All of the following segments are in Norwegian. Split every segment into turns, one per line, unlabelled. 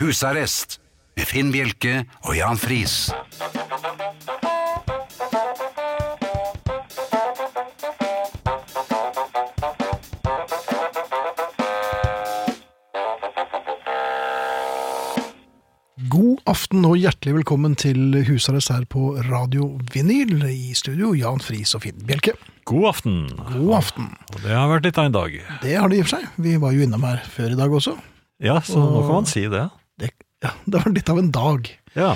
Husarrest med Finn Bjelke og Jan Friis.
God aften og hjertelig velkommen til Husarrest her på Radio Vinyl. I studio Jan Friis og Finn Bjelke.
God aften.
God aften.
Og Det har vært litt av en dag.
Det har det i og for seg. Vi var jo innom her før i dag også.
Ja, så nå kan man si det.
Det, ja, det var litt av en dag.
Ja.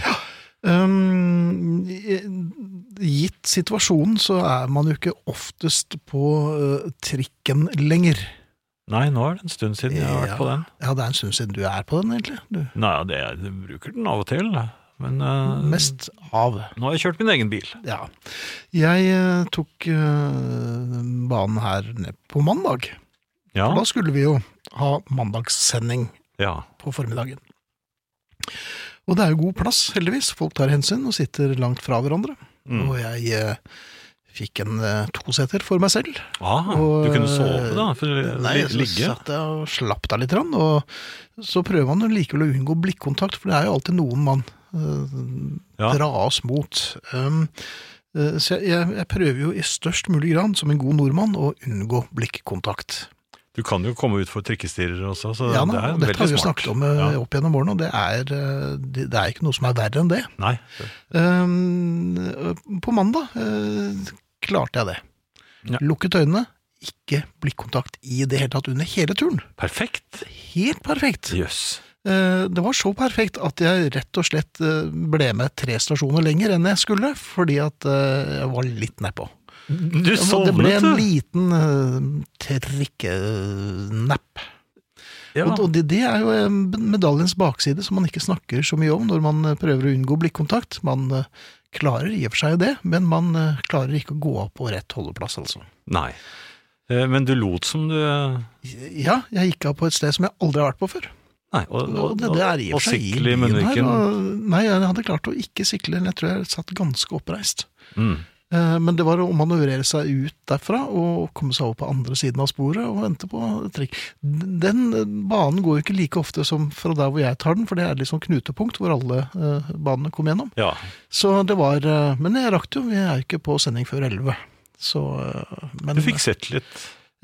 Um, gitt situasjonen så er man jo ikke oftest på eh, trikken lenger.
Nei, nå er det en stund siden jeg har vært på den.
Ja, det er en stund siden du er på den, egentlig. Du,
Nei, ja, det, jeg bruker den av og til, men eh,
mest av.
nå har jeg kjørt min egen bil.
Ja. Jeg eh, tok eh, banen her ned på mandag.
Ja,
For da skulle vi jo ha mandagssending
ja.
på formiddagen. Og det er jo god plass, heldigvis. Folk tar hensyn og sitter langt fra hverandre.
Mm.
Og jeg eh, fikk en eh, toseter for meg selv.
Ah,
og, eh,
du kunne sove da, for å
Nei,
Eh,
altså, så
li- ligge.
satt jeg og slapp deg litt. grann, Og så prøver man jo likevel å unngå blikkontakt, for det er jo alltid noen man eh,
Ja.
dras mot. Um, eh, så jeg, jeg, jeg prøver jo i størst mulig grad, som en god nordmann, å unngå blikkontakt.
Du kan jo komme ut for trikkestirrer også, så
Ja,
det
da,
er
og dette har vi
veldig
jo
smart.
snakket om eh,
ja.
opp gjennom årene, og det er, eh, det, det er ikke noe som er verre enn det.
Nei,
Ehm, på mandag eh, klarte jeg det.
Ja.
Lukket øynene, ikke blikkontakt i det hele tatt under hele turen.
perfekt.
Helt perfekt.
Jøss.
Eh, det var så perfekt at jeg rett og slett eh, ble med tre stasjoner lenger enn jeg skulle, fordi at eh, jeg var litt nedpå.
Du
Mm, Det var- det ble
sovnet,
en
du.
liten uh, trikkenapp.
Ja.
Og, og det, det er jo eh, medaljens bakside som man ikke snakker så mye om når man eh, prøver å unngå blikkontakt. Man eh, klarer i og for seg det, men man eh, klarer ikke å gå av på rett holdeplass, altså.
Nei. Eh, Men du lot som du Nei,
Ja, jeg gikk av på et sted som jeg aldri har vært på før.
og,
Og det, det er i og
og
for seg i
sikle i
byen her.
munnviken.
Og, nei, jeg hadde klart å ikke sikle, men jeg tror jeg satt ganske oppreist.
Mm.
Eh, Men det var å manøvrere seg ut derfra og komme seg over på andre siden av sporet og vente på trikk. Den eh, banen går jo ikke like ofte som fra der hvor jeg tar den, for det er liksom knutepunkt hvor alle eh, banene kom gjennom.
Ja.
Så det var eh, Men jeg rakk det jo, vi er jo ikke på sending før 11. Så eh, Men
Du fikk sett litt.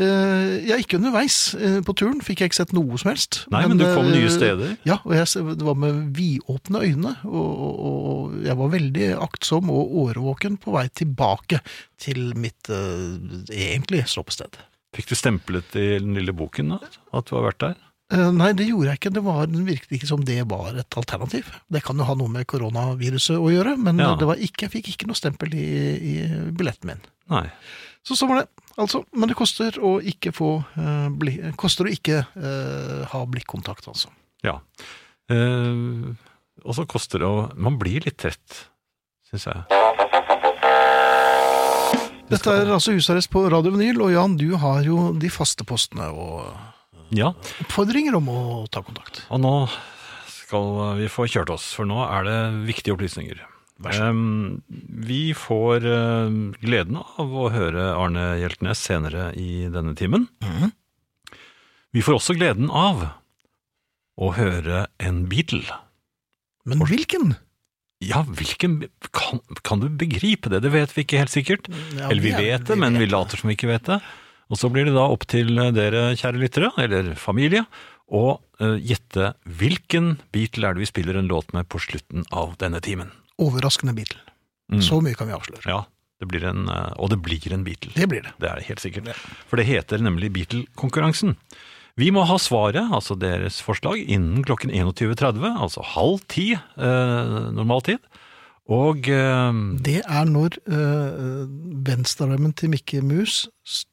eh, Ja, ikke underveis. Eh, På turen fikk jeg ikke sett noe som helst.
Nei, men, du kom
eh,
nye steder.
Ja, og jeg, s- det var med vidåpne øyne, og, og, og jeg var veldig aktsom og årvåken på vei tilbake til mitt eh, egentlige stoppested.
Fikk du stemplet i den lille boken da, at du har vært der?
Eh, nei, det gjorde jeg ikke. Det var, det virket ikke som det var et alternativ. Det kan jo ha noe med koronaviruset å gjøre, men
Ja.
det var ikke, jeg fikk ikke noe stempel i, i billetten min.
Nei.
Så sånn var det. Altså, men det koster å ikke få eh, bli, koster å ikke eh, ha blikkontakt, altså.
Ja. Eh, og så koster det å Man blir litt trett, syns jeg. Det
Dette
skal-
er altså husarrest på Radio Vinyl, og Jan, du har jo de faste postene og
Ja.
oppfordringer om å ta kontakt.
Og nå skal vi få kjørt oss, for nå er det viktige opplysninger. Em, vi får em, gleden av å høre Arne Hjeltnes senere i denne timen. Vi får også gleden av å høre en Beatle.
Men hvilken?
Ja, hvilken kan, kan du begripe det? Det vet vi ikke helt sikkert.
Ja,
Eller vi
er-
vet det, men vi
vet
later som vi ikke vet det. Og så blir det da opp til eh, dere, kjære lyttere, eller familie, å eh, gjette hvilken Beatle er det vi spiller en låt med på slutten av denne timen.
Overraskende Beatle.
Mm.
Så mye kan vi avsløre.
Ja, det blir en, eh, og det blir en Beatle.
Det blir det.
Det er helt sikkert. For det heter nemlig Beatle-konkurransen. Vi må ha svaret, altså deres forslag, innen klokken 21.30, altså halv ti eh, normal tid. Og eh,
Det er når øh, venstrearmen til Mikke Mus s-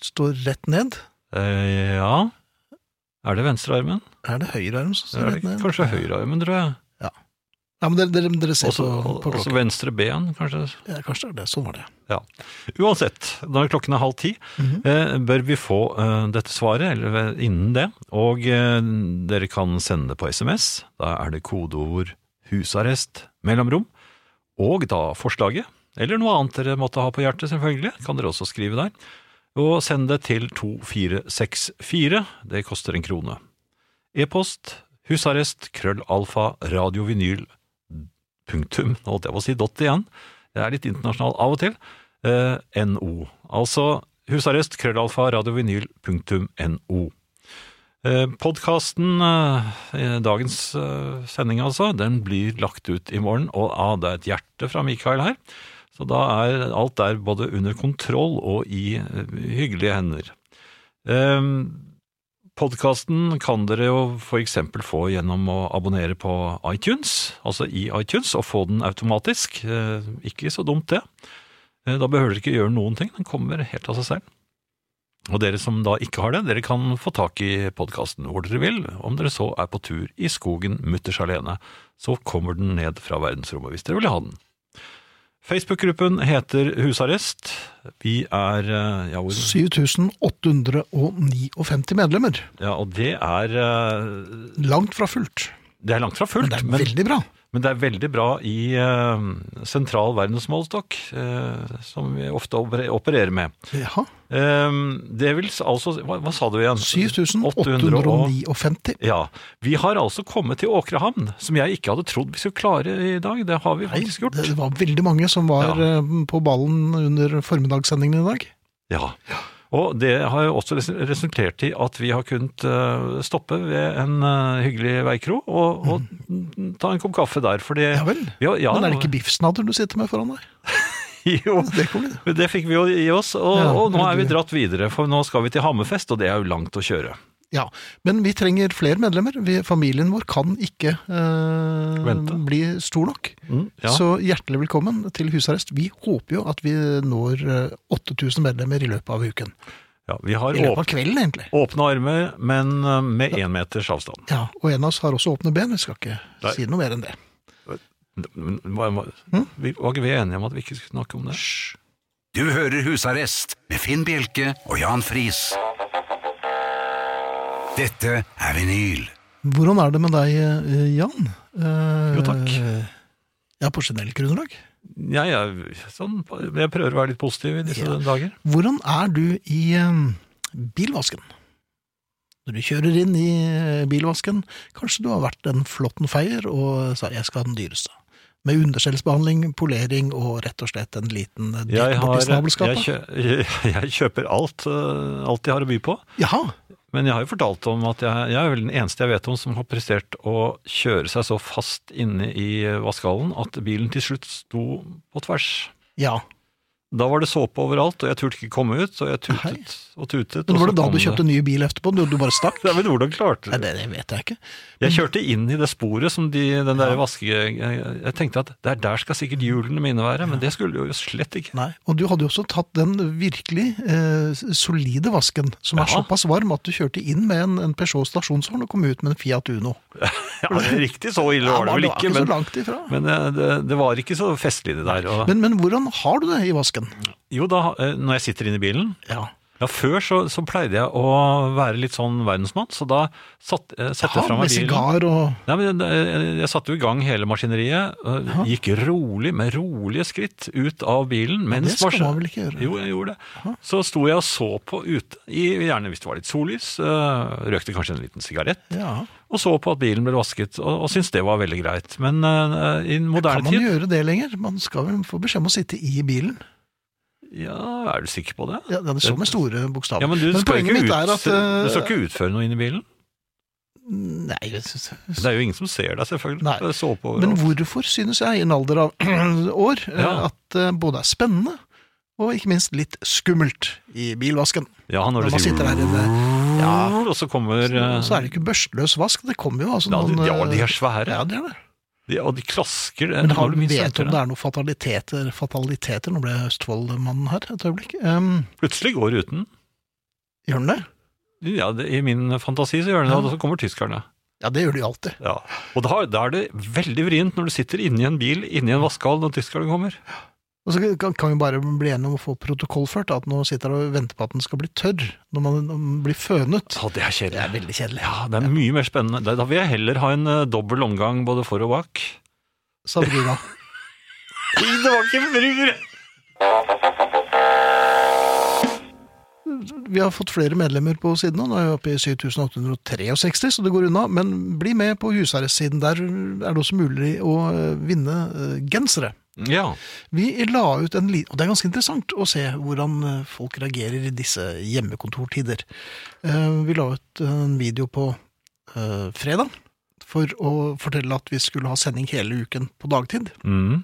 står rett ned,
eh, ja, Er det venstrearmen?
Er det høyrearm som
Er
står rett
det
ned?
Kanskje høyrearmen, tror jeg.
Nei, men dere, dere, dere ser
Også,
på, på
også
klokka.
venstre ben, kanskje.
Ja, kanskje det er det. Sånn var det.
Ja. Uansett, når klokken er halv ti,
Mhm.
eh, bør vi få eh, dette svaret, eller eh, innen det. Og eh, dere kan sende det på SMS. Da er det kodeord 'husarrest' mellomrom. Og da forslaget, eller noe annet dere måtte ha på hjertet, selvfølgelig, kan dere også skrive der. Og send det til 2464. Det koster en krone. E-post husarrest krøllalfa radiovinyl punktum, nå holdt jeg på å si dot igjen. Jeg er litt internasjonal av og til. Eh, NO. Altså husarrest, krøllalfa, radiovinyl, punktum, NO. Eh, Podkasten, eh, dagens eh, sending altså, den blir lagt ut i morgen. Og ah, det er et hjerte fra Mikael her. Så da er alt der både under kontroll og i eh, hyggelige hender. Eh, Podkasten kan dere jo f.eks. få gjennom å abonnere på iTunes, altså i iTunes, og få den automatisk. Eh, Ikke så dumt, det. Eh, Da behøver dere ikke gjøre noen ting, den kommer helt av seg selv. Og dere som da ikke har det, dere kan få tak i podkasten hvor dere vil, om dere så er på tur i skogen mutters alene. Så kommer den ned fra verdensrommet hvis dere vil ha den. Facebook-gruppen heter Husarrest. Vi er eh, ja, hvor,
7859 medlemmer.
ja, og det er eh,
Langt fra fullt.
Det er langt fra
Men
fullt,
det er
men,
veldig bra.
men det er veldig bra i eh, sentral verdensmålestokk, eh, som vi ofte operer- opererer med.
Jaha.
Ehm, Det vil s- altså Hva, hva sa du igjen?
7859.
Ja. Vi har altså kommet til Åkrehamn, som jeg ikke hadde trodd vi skulle klare i dag. Det har vi
Nei,
faktisk gjort.
det var veldig mange som var
Ja.
eh, på ballen under formiddagssendingen i dag.
Ja. Og det har jo også res- resultert i at vi har kunnet eh, stoppe ved en eh, hyggelig veikro og, og ta en kopp kaffe der, for
Mm.
det
Ja vel.
Ja, ja,
Men er det ikke biffsnadder du sitter med foran deg?
Jo,
Det kommer det.
Men Det fikk vi jo i oss, og,
Ja,
og nå er vi
det-
dratt videre, for nå skal vi til Hammerfest, og det er jo langt å kjøre.
Ja, men vi trenger flere medlemmer. Vi, familien vår kan ikke eh,
Vente.
bli stor nok.
Mm, ja.
Så hjertelig velkommen til husarrest. Vi håper jo at vi når eh, 8000 medlemmer i løpet av uken.
ja, vi har
I løpet
åp
av kvelden, egentlig.
åpne armer, men eh, med én meters avstand.
Ja, Og en av oss har også åpne ben. Vi skal ikke
Nei.
si noe mer enn det.
Men hva- hva-
Hm?
Vi var ikke vi enige om at vi ikke skulle snakke om det?
Du hører Husarrest med Finn Bjelke og Jan Friis. Dette er vinyl.
Hvordan er det med deg, eh, Jan? Eh,
Jo, takk.
Ja, på generelt grunnlag.
Ja, jeg, sånn, jeg prøver å være litt positiv i disse
Ja.
dager.
Hvordan er du i eh, bilvasken? Når du kjører inn i eh, bilvasken, kanskje du har vært en flotten feier og eh, sa 'jeg skal ha den dyreste'. Med underskjellsbehandling, polering og rett og slett en liten eh,
Jeg,
dytt
har,
borti
jeg,
snabelskapet.
kjø, jeg kjøper alt, eh, alt jeg har å by på,
Jaha,
men jeg har jo fortalt om at jeg, jeg er vel den eneste jeg vet om som har prestert å kjøre seg så fast inne i eh, vaskehallen at bilen til slutt sto på tvers.
ja.
Da var det såpe overalt, og jeg turte ikke komme ut, så jeg tutet
Hei.
og tutet.
Men
og
var det
så
da
kom
du kjøpte ny bil etterpå? Du, du bare stakk?
Nei, men hvordan klarte
Nei,
du det?
det, det vet jeg ikke.
Jeg kjørte inn i det sporet som de, den der
Ja.
vaske... Jeg, jeg tenkte at der, der skal sikkert hjulene mine være, men det skulle jo slett ikke.
Nei, Og du hadde jo også tatt den virkelig eh, solide vasken, som er
Ja.
såpass varm at du kjørte inn med en, en Peugeot stasjonshorn og kom ut med en Fiat Uno.
Ja, det er Riktig så ille
Ja,
var det vel
var
ikke,
så
men,
langt ifra.
men eh, det, det var ikke så festlig det der. Og,
Men, men hvordan har du det i vasken?
jo da, eh, når jeg sitter inne i bilen,
Ja.
ja, før så, så pleide jeg å være litt sånn verdensmann, så da satt, eh, satte jeg fra
med
meg bilen.
sigar og
Nei, men eh, jeg, jeg satte jo i gang hele maskineriet, og gikk rolig, med rolige skritt ut av bilen. Mens
Det skal
maskin-
man vel ikke gjøre?
Jo, jeg gjorde det. Så sto jeg og så på ute, i, gjerne hvis det var litt sollys, øh, røkte kanskje en liten sigarett,
Ja.
og så på at bilen ble vasket, og, og syntes det var veldig greit. Men øh, i den
Kan
moderne
man
tid
gjøre det lenger? Man skal vel få beskjed om å sitte i bilen.
Ja, er du sikker på det?
Ja, det står med store bokstaver.
Ja, men du, skal
poenget
ikke ut,
mitt er at eh,
du skal ikke utføre noe inn i bilen.
Nei, jeg synes-
Det er jo ingen som ser deg, selvfølgelig. Eh,
Nei.
Det er såpe overalt.
Men hvorfor synes jeg, i en alder av år, eh,
Ja.
at det både er spennende og ikke minst litt skummelt i bilvasken?
ja, når
Når
du
man
sier
sitter der inne, ja,
og så kommer øh,
så er det ikke børstløs vask. eh, Det kommer jo altså
ja, de,
noen
ja, de
eh,
er svære.
ja, det er det.
De, og de klasker. eh,
Men
når
har
du
du
minst
vet
venter
om det er noen fataliteter? fataliteter? Nå ble jeg Østfold-mannen her et øyeblikk. Um,
Plutselig går ruten.
gjør den det?
Ja, det, I min fantasi så gjør den det, og så kommer tyskerne.
Ja, det gjør de jo alltid.
Ja. Og da, da er det veldig vrient når du sitter inni en bil, inni en vaskehall, når tyskerne kommer.
Og så kan, kan vi bare bli enige om å få protokollført at nå sitter han og venter på at den skal bli tørr når man, når man blir fønet.
Å, det er kjedelig.
Det er veldig kjedelig.
Ja, det er mye mer spennende. Da- Da vil jeg heller ha en eh, dobbel omgang både for og bak.
Sabrina.
Det var ikke brur!
Vi har fått flere medlemmer på siden nå. Nå er vi oppe i 7863, så det går unna. Men bli med på husarrestsiden. Der er det også mulig å eh, vinne eh, gensere.
Ja.
Vi la ut en liten Og det er ganske interessant å se hvordan eh, folk reagerer i disse hjemmekontortider. Eh, Vi la ut en video på eh, fredag for å fortelle at vi skulle ha sending hele uken på dagtid.
Mm.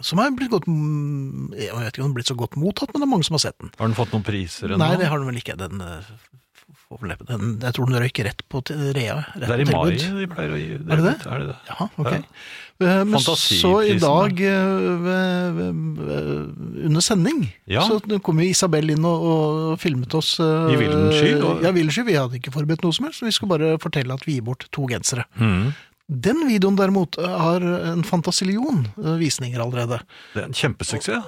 Som er blitt godt mm, Jeg vet ikke om den er blitt så godt mottatt, men det er mange som har sett den.
Har den fått noen priser ennå?
Nei, det har den vel ikke. Den, eh, får vel neppe- den, jeg tror den røyk rett på til- Rea. Rett
Det er i
på
mai
tilbud.
de pleier å gi
Er det det?
ut, Er det det?
Jaha, ok. Eh, Men så i
Fantasiprisen,
dag, eh, ved- ved- ved- under sending,
Ja.
så kom jo Isabel inn og, og filmet oss. eh,
I villen sky, og-
Ja, i villen sky. Vi hadde ikke forberedt noe som helst, så vi skulle bare fortelle at vi gir bort to gensere.
Mm.
Den videoen derimot eh, har en fantasillion eh, visninger allerede.
Det er en kjempesuksess.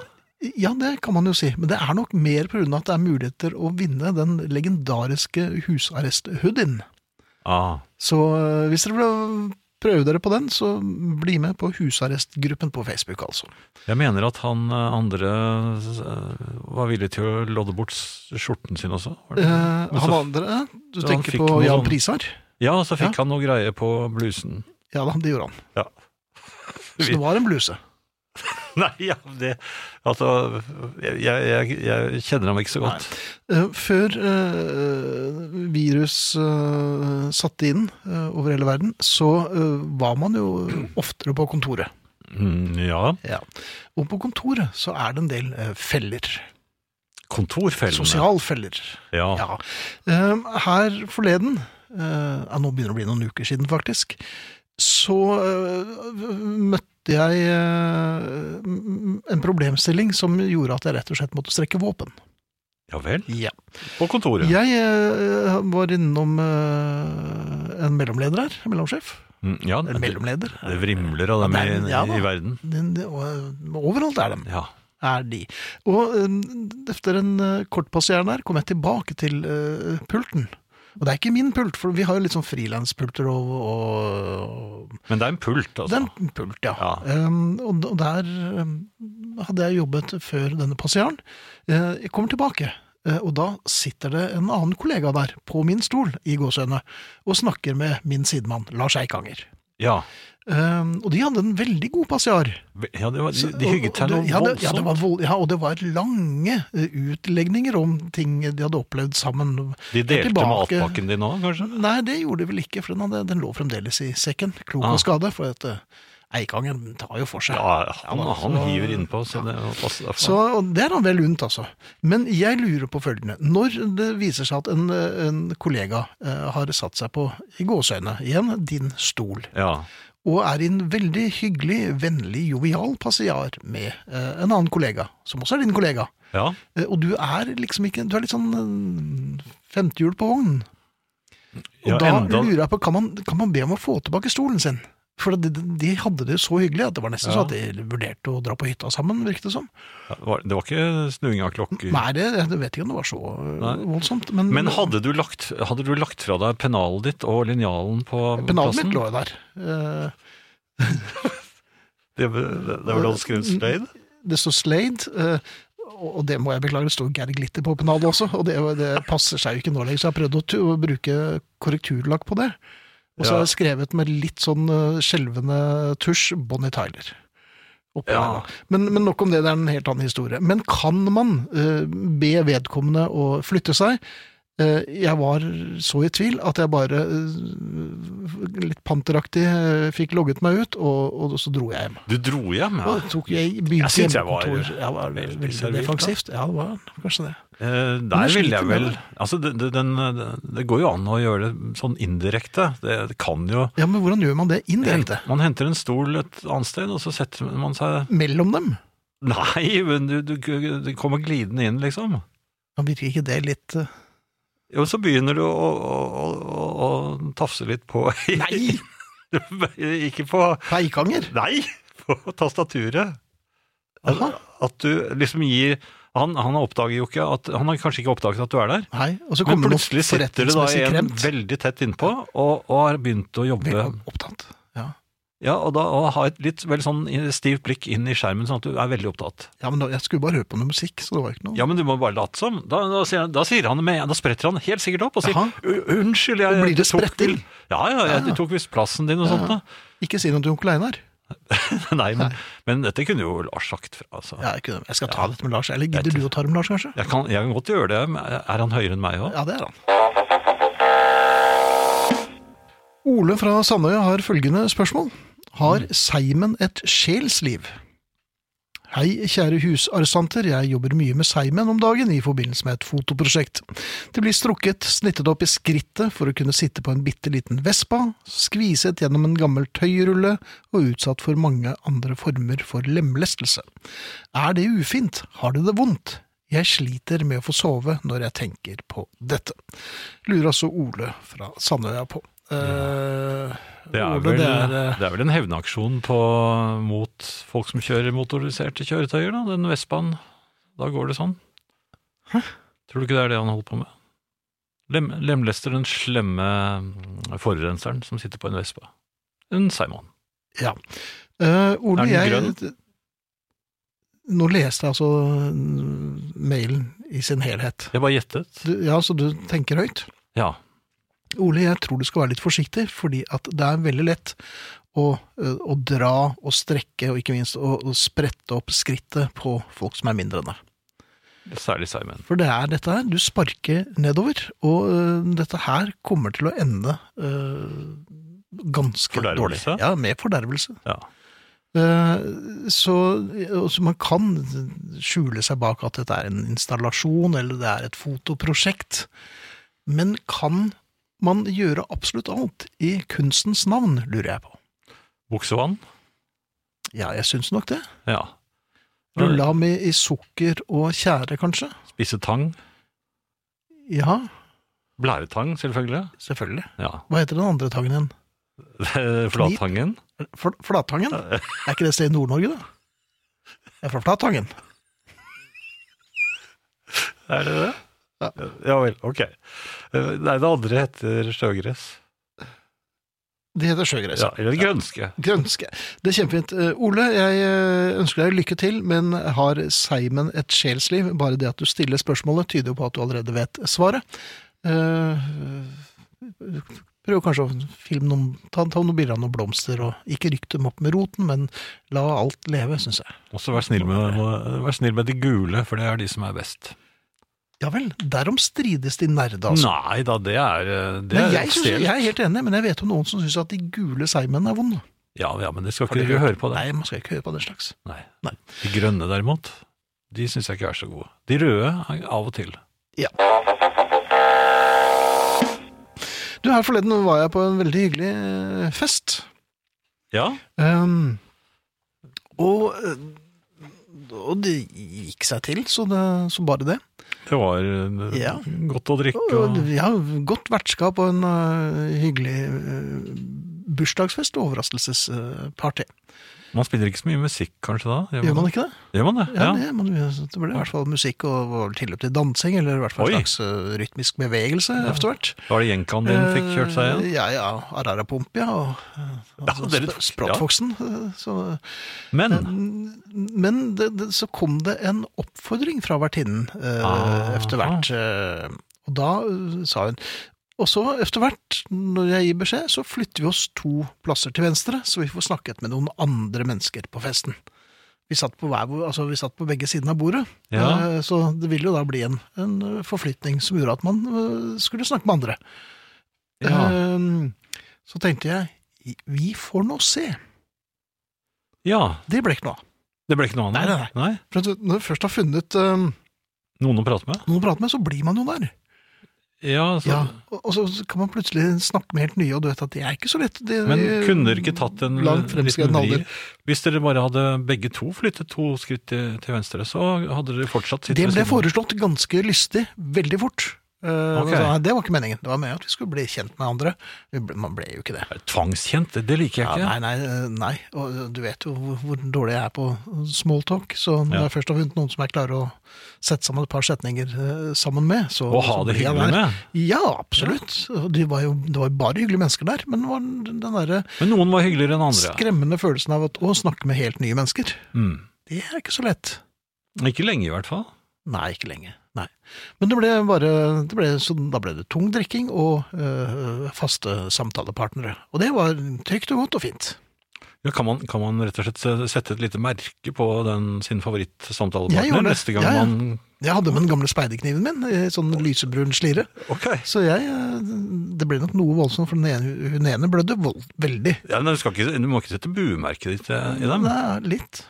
Ja, det kan man jo si. Men det er nok mer pga. at det er muligheter å vinne den legendariske husarrest-hoodien.
Ah.
Så øh, hvis dere vil prøve dere på den, så bli med på husarrestgruppen på Facebook, altså.
Jeg mener at han eh, andre eh, var villig til å lodde bort s- skjorten sin også. Var det?
Eh,
Men så-
han andre, du
så han
tenker
fikk
på
noe
Jan
sånn-
Prisar?
Ja, så fikk han noe greie på blusen.
Ja da, det gjorde han.
Ja.
Så det var en bluse.
Nei, ja, det Altså, jeg, jeg, jeg kjenner ham ikke så godt.
Eh, Før eh, virus eh, satte inn eh, over hele verden, så eh, var man jo oftere på kontoret.
Mm, ja.
Og på kontoret så er det en del eh, feller.
Kontorfellene.
Sosialfeller.
Ja.
Ja. Eh, Her forleden, eh, ja, nå begynner det å bli noen uker siden faktisk, så eh, møtte jeg eh, m- en problemstilling som gjorde at jeg rett og slett måtte strekke våpen.
ja vel.
Ja.
På kontoret.
Jeg eh, var innom eh, en mellomleder her, en mellomsjef.
Mm, ja,
Eller
det,
mellomleder.
det vrimler av dem
Ja, det er-
i,
ja da.
i verden.
Den- det- og- eh, Overalt er de.
Ja.
Er de. Og eh, etter en eh, kort passering her kom jeg tilbake til eh, pulten. Og det er ikke min pult, for vi har jo litt sånn frilanspulter og, og
Men det er en pult, altså.
Det er en pult, ja.
Ja.
Em, og, og der em, hadde jeg jobbet før denne passeren. Eh, jeg kommer tilbake, eh, og da sitter det en annen kollega der, på min stol, i gåsehøyne, og snakker med min sidemann, Lars Eikanger.
Ja.
Em, og de hadde en veldig god passiar.
ja det var, de,
Så-
de hygget
og-
seg
og
noe
det- ja, det- Ja, det
voldsomt.
var vold, ja, og det var lange eh, utlegninger om ting de hadde opplevd sammen.
De delte
tilbake-
matpakken din nå, kanskje?
Nei, det gjorde de vel ikke, for den, hadde, den lå fremdeles i sekken. Klok
Ah.
og skade, for at eh, Eikangen tar jo for seg.
Ja, han,
Ja, da,
han
så-
hiver innpå, så det passer derfor.
Så og det er han vel unt, altså. Men jeg lurer på følgende. Når det viser seg at en, eh, en kollega eh, har satt seg på, i gåseøyne igjen, din stol,
Ja.
og er i en veldig hyggelig, vennlig, jovial passiar med eh, en annen kollega, som også er din kollega.
ja.
Eh, Og du er liksom ikke Du er litt sånn eh, femtehjul på vognen. Og
Ja,
da
enda-
lurer jeg på kan man, kan man be om å få tilbake stolen sin? For de, de hadde det så hyggelig at det var nesten
Ja.
så at de vurderte å dra på hytta sammen, virket det som.
Ja, var- Det var ikke snuing av klokker.
Nei, det, jeg vet ikke om det var så eh,
Mm. Nei.
voldsomt. Men,
Men hadde du, lagt, hadde du lagt fra deg pennalet ditt og linjalen på
pennalet
plassen?
mitt lå jo der. Eh,
Det, det, det var det du
Mm.
skrev Slade?
Det står Slade, eh, og og det må jeg beklage, det står Geir Glitter på pennalet også, og det, det passer seg jo ikke nå lenger, så jeg har prøvd å, tu- å bruke korrekturlakk på det. Og så
Ja.
har jeg skrevet med litt sånn eh, skjelvende tusj Bonnie Tyler. Oppå
Ja.
der, da. Men, men nok om det, det er en helt annen historie. Men kan man eh, be vedkommende å flytte seg? Eh, jeg var så i tvil at jeg bare eh, litt panteraktig eh, fikk logget meg ut, og, og så dro jeg hjem.
Du dro hjem, ja.
Ja. Tok jeg, begynte
Jeg synes jeg var-
hjemmekontor. Jeg var
veldig
veldig,
servilt,
defensivt. Ja, det var kanskje det.
Eh,
jeg
der ville
sliter
jeg
med
vel
det.
Altså, det, det, den, det- det går jo an å gjøre det sånn indirekte. Det, det kan jo
Ja, Men hvordan gjør man det indirekte?
Man henter en stol et annet sted, og så setter man seg
Mellom dem?
Nei, men du, du, du kommer glidende inn, liksom.
Ja, Virker ikke det litt eh,
Jo, så begynner du å, å, å, å tafse litt på
Nei!
Ikke på
Feikanger?
Nei! På tastaturet. At,
Jaha.
at du liksom gir han, han oppdager jo ikke at Han har kanskje ikke oppdaget at du er der.
Nei. Og så
Men
kommer det noe
plutselig sitter det da
forretningsmessig
en
kremt.
veldig tett innpå, og, og har begynt å jobbe
Veldig opptatt. Ja.
Ja, og da og ha et litt vel sånn stivt blikk inn i skjermen, sånn at du er veldig opptatt.
ja, men da, jeg skulle bare høre på noe musikk, så det var ikke noe.
Ja, men du må bare late som. Da, da, sier, han- da sier han med, da spretter han helt sikkert opp og sier
Jaha.
"U- unnskyld,
Og
jeg
blir det
tok vel-
spretting?
Ja, ja, jeg
Ja.
tok visst plassen din og sånt da.
Ikke si noe til onkel Einar.
Nei, men, men dette kunne jo Lars sagt fra, altså.
Ja, jeg, kunne, jeg skal ta dette med Lars. Eller gidder du å ta det med Lars, kanskje?
Jeg kan, jeg kan godt gjøre det, men er han høyere enn meg også?
Ja, det er han. Ole fra Sandøya har følgende spørsmål. Har seimen et sjelsliv? Hei, kjære husarrestanter. Jeg jobber mye med seimen om dagen i forbindelse med et fotoprosjekt. Det blir strukket, snittet opp i skrittet for å kunne sitte på en bitte liten vespa, skviset gjennom en gammel tøyrulle og utsatt for mange andre former for lemlestelse. Er det ufint? Har du det vondt? Jeg sliter med å få sove når jeg tenker på dette. Lurer altså Ole fra Sandøya på. Eh,
Det er,
Ole,
vel,
det er, eh,
det er vel en hevnaksjon på, mot folk som kjører motoriserte kjøretøyer, da, den Vespaen. Da går det sånn. Tror du ikke det er det han holder på med? Lem, lemlester den slemme mm, forurenseren som sitter på en Vespa. En Simon.
Ja. Eh, Ole,
Er den
jeg Nå leste jeg altså mm, mailen i sin helhet.
Jeg bare gjettet.
Du, ja, så du tenker høyt.
Ja.
Ole, jeg tror du skal være litt forsiktig, fordi at det er veldig lett å, eh, å dra og strekke, og ikke minst å, å sprette opp skrittet på folk som er mindre enn deg.
Særlig Simon.
For det er dette her, du sparker nedover, og øh, dette her kommer til å ende øh, ganske dårlig.
Fordervelse?
Ja, med fordervelse.
Ja.
Eh, så, og så man kan skjule seg bak at dette er en installasjon, eller det er et fotoprosjekt, men kan man gjøre absolutt alt i kunstens navn, lurer jeg på.
Buksevann.
Ja, jeg syns nok det.
Ja.
Rulla med i sukker og tjære, kanskje?
Spisse tang.
Ja,
Blæretang, selvfølgelig.
selvfølgelig.
Ja.
Hva heter den andre tangen igjen?
Flattangen.
Fl- Flattangen? Er ikke det et sted i Nord-Norge, da? Jeg er fra Flattangen.
Er det det?
Ja.
ja vel, ok. Eh, Nei, det andre heter sjøgress.
Det heter sjøgress.
Ja, eller grønske.
Grønske. Det er kjempefint. Eh, Ole, jeg eh, ønsker deg lykke til, men har Seimen et sjelsliv? Bare det at du stiller spørsmålet, tyder jo på at du allerede vet svaret. Eh, Prøv kanskje å filme noen, ta, ta noen bilder av noen blomster, og ikke rykt dem opp med roten, men la alt leve, syns jeg.
Og så vær snill, med, må- vær snill med de gule, for det er de som er best.
Ja vel, derom strides de nerde, altså.
Nei da, det er eh, det
Nei,
er
jeg, synes,
stelt.
jeg er helt enig, men jeg vet om noen som syns at de gule seigmennene er vonde.
Ja, ja, men det skal
Har
ikke
dere
du høre på. det.
Nei, man skal ikke høre på den slags.
Nei.
Nei.
De grønne derimot, de syns jeg ikke er så gode. De røde er av og til.
Du, her forleden var jeg på en veldig hyggelig eh, fest.
Ja,
Ehm, og, eh, og det gikk seg til, så, det, så bare det.
det var eh,
Ja.
godt å drikke.
Og,
Og,
ja, godt vertskap og en eh, hyggelig eh, bursdagsfest og overraskelsesparty.
man spiller ikke så mye musikk kanskje da?
Gjør man ikke det?
Gjør man det?
Ja, Det, man, det ble i hvert fall musikk og var vel tilløp til dansing, eller i hvert fall
Oi.
en slags eh, rytmisk bevegelse etter hvert.
Var det jenkaen din fikk kjørt seg igjen?
Eh, Ja, ja. Ararapomp, ja. Og, og
Ja, dere tok-
sp- Sprottfoxen. eh, så-
Men
Men det, det, så kom det en oppfordring fra vertinnen eh,
Ah.
etter hvert. eh, og da eh, sa hun Og så etter hvert, når jeg gir beskjed, så flytter vi oss to plasser til venstre, så vi får snakket med noen andre mennesker på festen. Vi satt på, hver, vår- altså vi satt på begge sidene av bordet,
Ja.
eh, så det ville jo da bli en, en eh, forflytning som gjorde at man eh, skulle snakke med andre.
ja.
Ehm, Så tenkte jeg, vi får nå se.
ja,
Det ble ikke noe av.
det ble ikke noe annet?
Nei, nei,
nei.
For at når du først har funnet ehm,
Noen å prate med?
noen å prate med, så blir man jo der.
Ja, altså, så,
Ja. Og, og så kan man plutselig snakke med helt nye, og du vet at det er ikke så lett. Det,
Men kunne dere ikke tatt en
Langt
liten
fremskreden
vri?
alder.
Hvis dere bare hadde begge to flyttet to skritt til, til venstre, så hadde dere fortsatt sittet
Det
ved
ble
siden av.
foreslått ganske lystig, veldig fort. Eh, og
Ok.
så, nei, det var ikke meningen. Det var meningen at vi skulle bli kjent med andre. Vi ble, man ble jo ikke det.
Tvangskjent, det, det liker jeg
Ja,
ikke.
nei, nei, eh, nei. Og eh, du vet jo hvor, hvor dårlig jeg er på smalltalk, så når jeg først har funnet noen som jeg klarer å sette sammen et par setninger eh, sammen med, så
Å ha
så
det
blir jeg
hyggelig
der.
med.
Ja, absolutt. Og De var jo, det var jo bare hyggelige mennesker der, men det var den den derre
Men noen var hyggeligere enn andre.
skremmende følelsen av at, å snakke med helt nye mennesker.
Mm.
Det er ikke så lett.
Ikke lenge, i hvert fall.
Nei, ikke lenge. Nei. Men det ble bare det ble, så Da ble det tung drikking og øh, faste samtalepartnere. Og det var trygt og godt og fint.
Ja, kan, man, kan man rett og slett se- sette et lite merke på den,
Jeg
sin
gjorde
favorittsamtalepartner
det.
neste gang
Ja, ja.
man
Jeg hadde med den gamle speiderkniven min, i sånn lysebrun slire.
Ok.
Så jeg øh, Det ble nok noe voldsomt, for den ene, hun ene blødde vold, veldig.
Ja, men du, skal ikke, du må ikke sette buemerket ditt eh, i dem.
Nei, litt.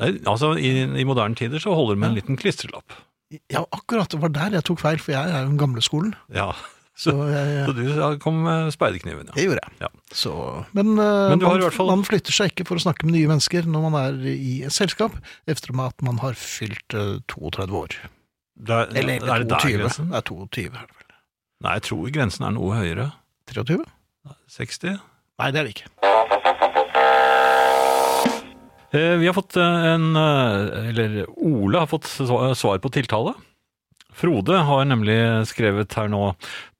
Nei, altså, i, I moderne tider så holder det med en liten klistrelapp.
Ja, akkurat. Det var der jeg tok feil, for jeg er jo den gamle skolen.
Ja,
Så jeg,
Så du ja, kom med speiderkniven, ja.
det gjorde jeg.
Ja.
Så, men øh,
Men du har
man,
i hvert fall-
man flytter seg ikke for å snakke med nye mennesker når man er i et selskap, efter at man har fylt øh, 32 år.
Der,
Eller
er det der
22.
grensen?
Det er 22, er det vel.
Nei, jeg tror grensen er noe høyere.
23?
60?
Nei, det er det ikke.
Eh, vi har fått eh, en eh, Eller Ole har fått sva- svar på tiltale. Frode har nemlig skrevet her nå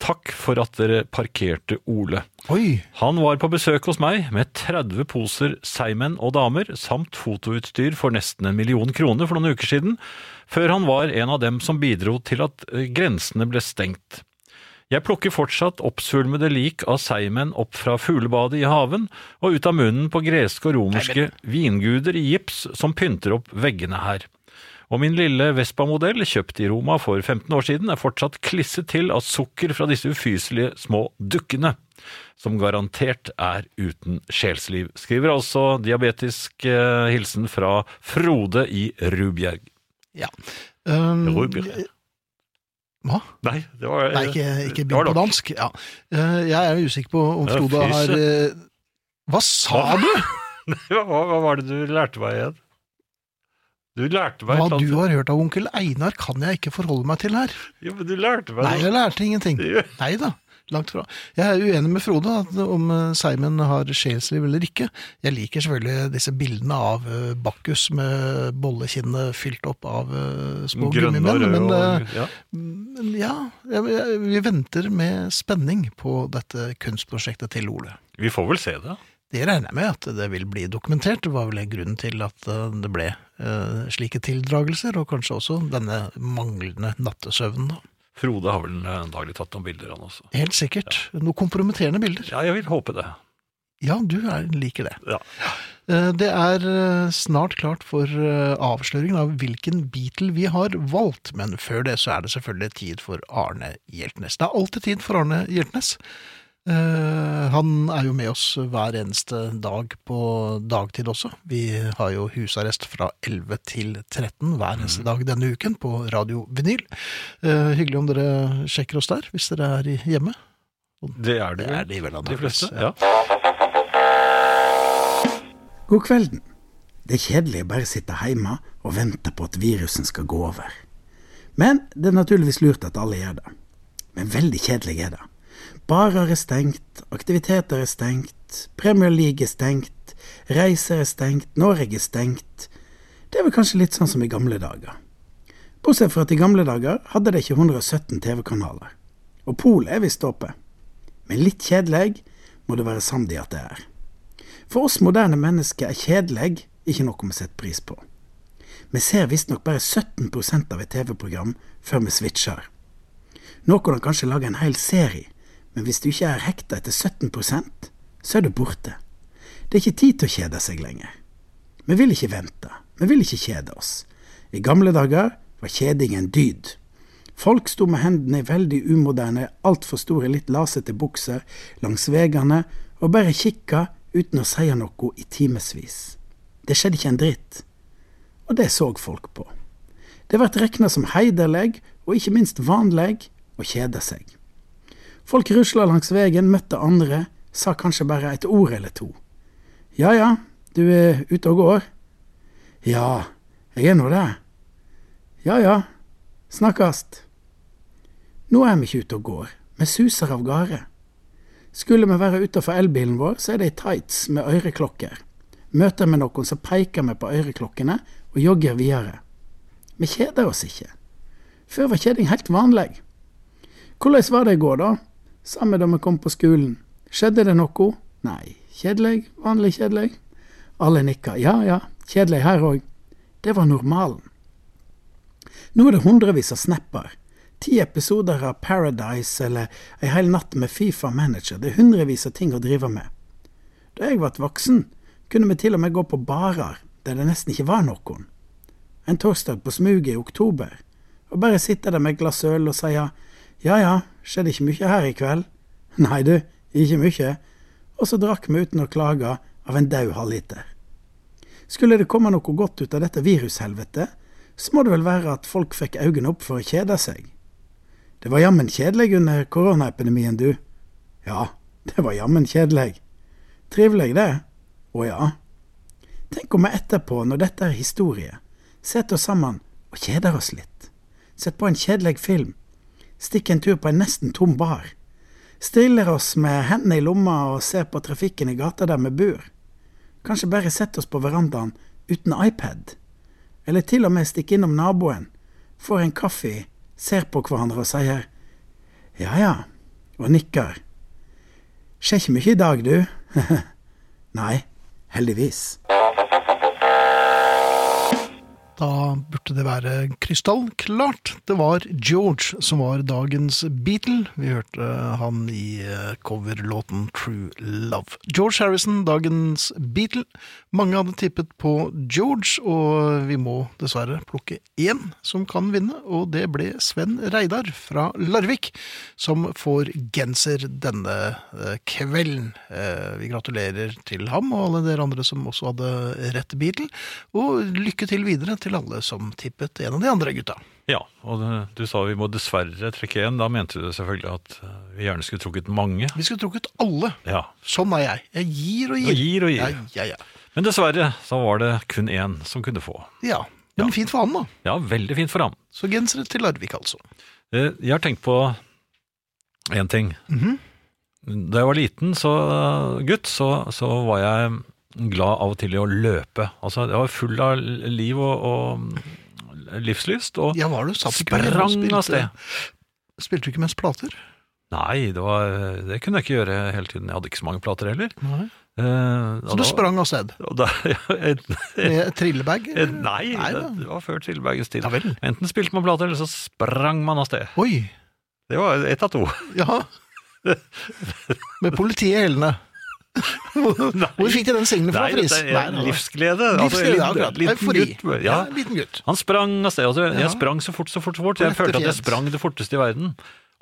'Takk for at dere parkerte Ole'.
Oi!
Han var på besøk hos meg med 30 poser seigmenn og damer, samt fotoutstyr for nesten en million kroner for noen uker siden, før han var en av dem som bidro til at eh, grensene ble stengt. Jeg plukker fortsatt oppsvulmede lik av seigmenn opp fra fuglebadet i haven og ut av munnen på greske og romerske vinguder i gips som pynter opp veggene her. Og min lille Vespa-modell, kjøpt i Roma for 15 år siden, er fortsatt klisset til av sukker fra disse ufyselige små dukkene, som garantert er uten sjelsliv. Skriver altså diabetisk eh, hilsen fra Frode i Rubjerg.
Ja. Um,
Rubjerg.
Hva?
Nei, det var
Nei, ikke, ikke
det var
begynn på
nok.
dansk. Ja. Eh, Jeg er usikker på om
Ja,
Frode
fy
har eh, Hva sa du?
Hva, hva var det du lærte meg igjen? Du lærte meg
Hva
et eller
du
annet-
har hørt av onkel Einar, kan jeg ikke forholde meg til her.
Jo, men du lærte meg
Nei,
noe.
jeg lærte ingenting. Nei da. Langt fra. Jeg er uenig med Frode at om eh, Simon har sjelsliv eller ikke. Jeg liker selvfølgelig disse bildene av eh, Bakkus med bollekinnet fylt opp av eh, små
Grønne og
gummimenn.
røde
Men, eh,
og ja.
men ja, jeg, jeg, vi venter med spenning på dette kunstprosjektet til Ole.
Vi får vel se det.
Det regner jeg med at det vil bli dokumentert. Det var vel grunnen til at eh, det ble eh, slike tildragelser, og kanskje også denne manglende nattesøvnen. da.
Frode har vel eh, antagelig tatt noen bilder, han også.
Helt sikkert. Noen kompromitterende bilder.
Ja, jeg vil håpe det.
Ja, du er, liker det.
Ja.
Eh, Det er eh, snart klart for eh, avsløringen av hvilken Beatle vi har valgt, men før det så er det selvfølgelig tid for Arne Hjeltnes. Det er alltid tid for Arne Hjeltnes. Eh, Han er jo med oss hver eneste dag på dagtid også. Vi har jo husarrest fra 11 til 13 hver
Mhm.
eneste dag denne uken på Radio Vinyl. Eh, Hyggelig om dere sjekker oss der, hvis dere er i- hjemme.
Det er det,
Det er de vel
de fleste.
antakeligvis.
Ja.
God kvelden. Det er kjedelig å bare sitte hjemme og vente på at virusen skal gå over. Men det er naturligvis lurt at alle gjør det. Men veldig kjedelig er det. Barer er stengt, aktiviteter er stengt, Premier League er stengt, reiser er stengt, Norge er stengt. Det er vel kanskje litt sånn som i gamle dager. Bortsett fra at i gamle dager hadde de ikke 117 TV-kanaler. Og polet er visst åpent. Men litt kjedelig må du være samd i at det er. For oss moderne mennesker er kjedelig ikke noe vi setter pris på. Vi ser visstnok bare 17 av et TV-program før vi switcher. Nå kan du kanskje lage en hel serie, men hvis du ikke er hekta etter 17 så er du borte. Det er ikke tid til å kjede seg lenger. Vi vil ikke vente, vi vil ikke kjede oss. I gamle dager var kjeding en dyd. Folk sto med hendene i veldig umoderne, altfor store, litt lasete bukser langs veiene og bare kikka uten å si noe i timevis. Det skjedde ikke en dritt. Og det så folk på. Det vert rekna som heiderleg, og ikke minst vanleg, å kjede seg. Folk rusla langs veien, møtte andre, sa kanskje bare et ord eller to. Ja ja, du er ute og går? Ja, jeg er nå det. Ja ja, snakkast. Nå er vi ikke ute og går, vi suser av gårde. Skulle vi være utafor elbilen vår, så er det i tights med øreklokker. Møter vi noen, så peker vi på øreklokkene og jogger videre. Vi kjeder oss ikke. Før var kjeding helt vanlig. Hvordan var det i går, da? Samme da vi kom på skolen. Skjedde det noe? Nei. Kjedelig? Vanlig kjedelig? Alle nikka. Ja ja, kjedelig her òg. Det var normalen. Nå er det hundrevis av snapper. Ti episoder av Paradise eller ei hel natt med Fifa Manager. Det er hundrevis av ting å drive med. Da jeg ble voksen, kunne vi til og med gå på barer der det nesten ikke var noen. En torsdag på smuget i oktober, og bare sitte der med et glass øl og si ja ja, skjedde ikke mye her i kveld. Nei du, ikke mye. Og så drakk vi uten å klage av en daud halvliter. Skulle det komme noe godt ut av dette virushelvetet, så må det vel være at folk fikk øynene opp for å kjede seg. Det var jammen kjedelig under koronaepidemien, du. Ja, det var jammen kjedelig. Trivelig, det. Å ja. Tenk om vi etterpå, når dette er historie, setter oss sammen og kjeder oss litt. Sett på en kjedelig film. Stikk en tur på en nesten tom bar. Stiller oss med hendene i lomma og ser på trafikken i gata der vi bor. Kanskje bare sette oss på verandaen uten iPad. Eller til og med stikke innom naboen, får en kaffe, ser på hverandre og sier ja ja, og nikker. Skjer ikke mye i dag, du. Nei, heldigvis.
Da burde det være krystallklart. Det var George som var dagens Beatle. Vi hørte han i eh, coverlåten True Love. George Harrison, dagens Beatle. Mange hadde tippet på George, og vi må dessverre plukke én som kan vinne, og det ble Sven Reidar fra Larvik, som får genser denne eh, kvelden. Eh, Vi gratulerer til ham og alle dere andre som også hadde rett Beatle, og lykke til videre til alle som tippet en av de andre gutta.
Ja, og det- du sa vi må dessverre trekke én. Da mente du selvfølgelig at eh, vi gjerne skulle trukket mange.
Vi skulle trukket alle.
Ja,
Sånn er jeg. Jeg gir og gir.
og gir og
Ja,
gir.
ja, ja.
Men dessverre så var det kun én som kunne få.
ja. Men fint for han, da.
Ja, veldig fint for ham.
Så gensere til Larvik, altså.
Eh, Jeg har tenkt på én ting.
Mhm.
Da jeg var liten så, gutt, så, så var jeg glad av og til i å løpe. Altså, jeg var full av liv og, og livslyst. Og
Ja, var du satt i køen og
sprang
spilte-
av sted.
Spilte du ikke mest plater?
Nei, det, var, det kunne jeg ikke gjøre hele tiden. Jeg hadde ikke så mange plater heller.
Nei.
Eh,
Så
og
du
da-
sprang av sted
og da- ja,
med trillebag?
Eh,
eller?
Nei, det,
da.
det var før Trillebergens tid.
Ja vel.
Enten spilte man plater, eller så sprang man av sted.
Oi,
Det var ett av to.
ja. Med politiet i hælene. Hvor fikk de den singelen fra,
Nei,
Friis?
dette er
nei, nei.
livsglede. Altså,
Livsglede,
en
akkurat.
liten
Eufori.
gutt.
Ja,
Ja.
en liten gutt.
Han sprang av sted. Altså,
Ja.
jeg sprang så fort, så fort, så fort.
På
Jeg
dette
følte at jeg
fjes.
sprang det forteste i verden.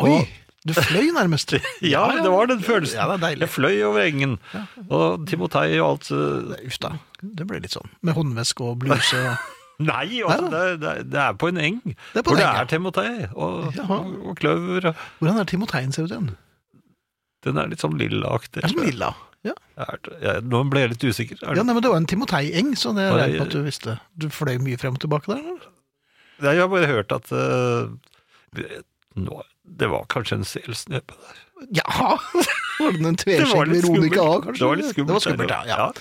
Oi,
Og-
du fløy nærmest.
Ja, det var den følelsen.
Ja, det er deilig.
jeg fløy over engen. Og Timotei og alt. eh,
Uff da, det ble litt sånn. Med håndveske og bluse og
Nei, altså, det, er- det, er- det er på en eng.
er på en
hvor det
eng, ja.
er Timotei og,
Jaha.
og kløver. og-
Hvordan er Timoteien ser ut igjen?
Den er litt sånn lillaaktig.
Er den lilla? Ja.
Er det- jeg- Nå ble jeg litt usikker. Er
ja,
det-
nei, men det var en Timotei-eng, så det regner
Var det-
jeg med at du visste. Du fløy mye frem og tilbake der? eller?
Nei, Jeg har bare hørt at eh, nå- Det var kanskje en selsnepe der.
Ja! Var den en tveskjegg
skummelt.
Veronica A, kanskje?
Det var litt skummelt.
Det var skummelt, ja. ja.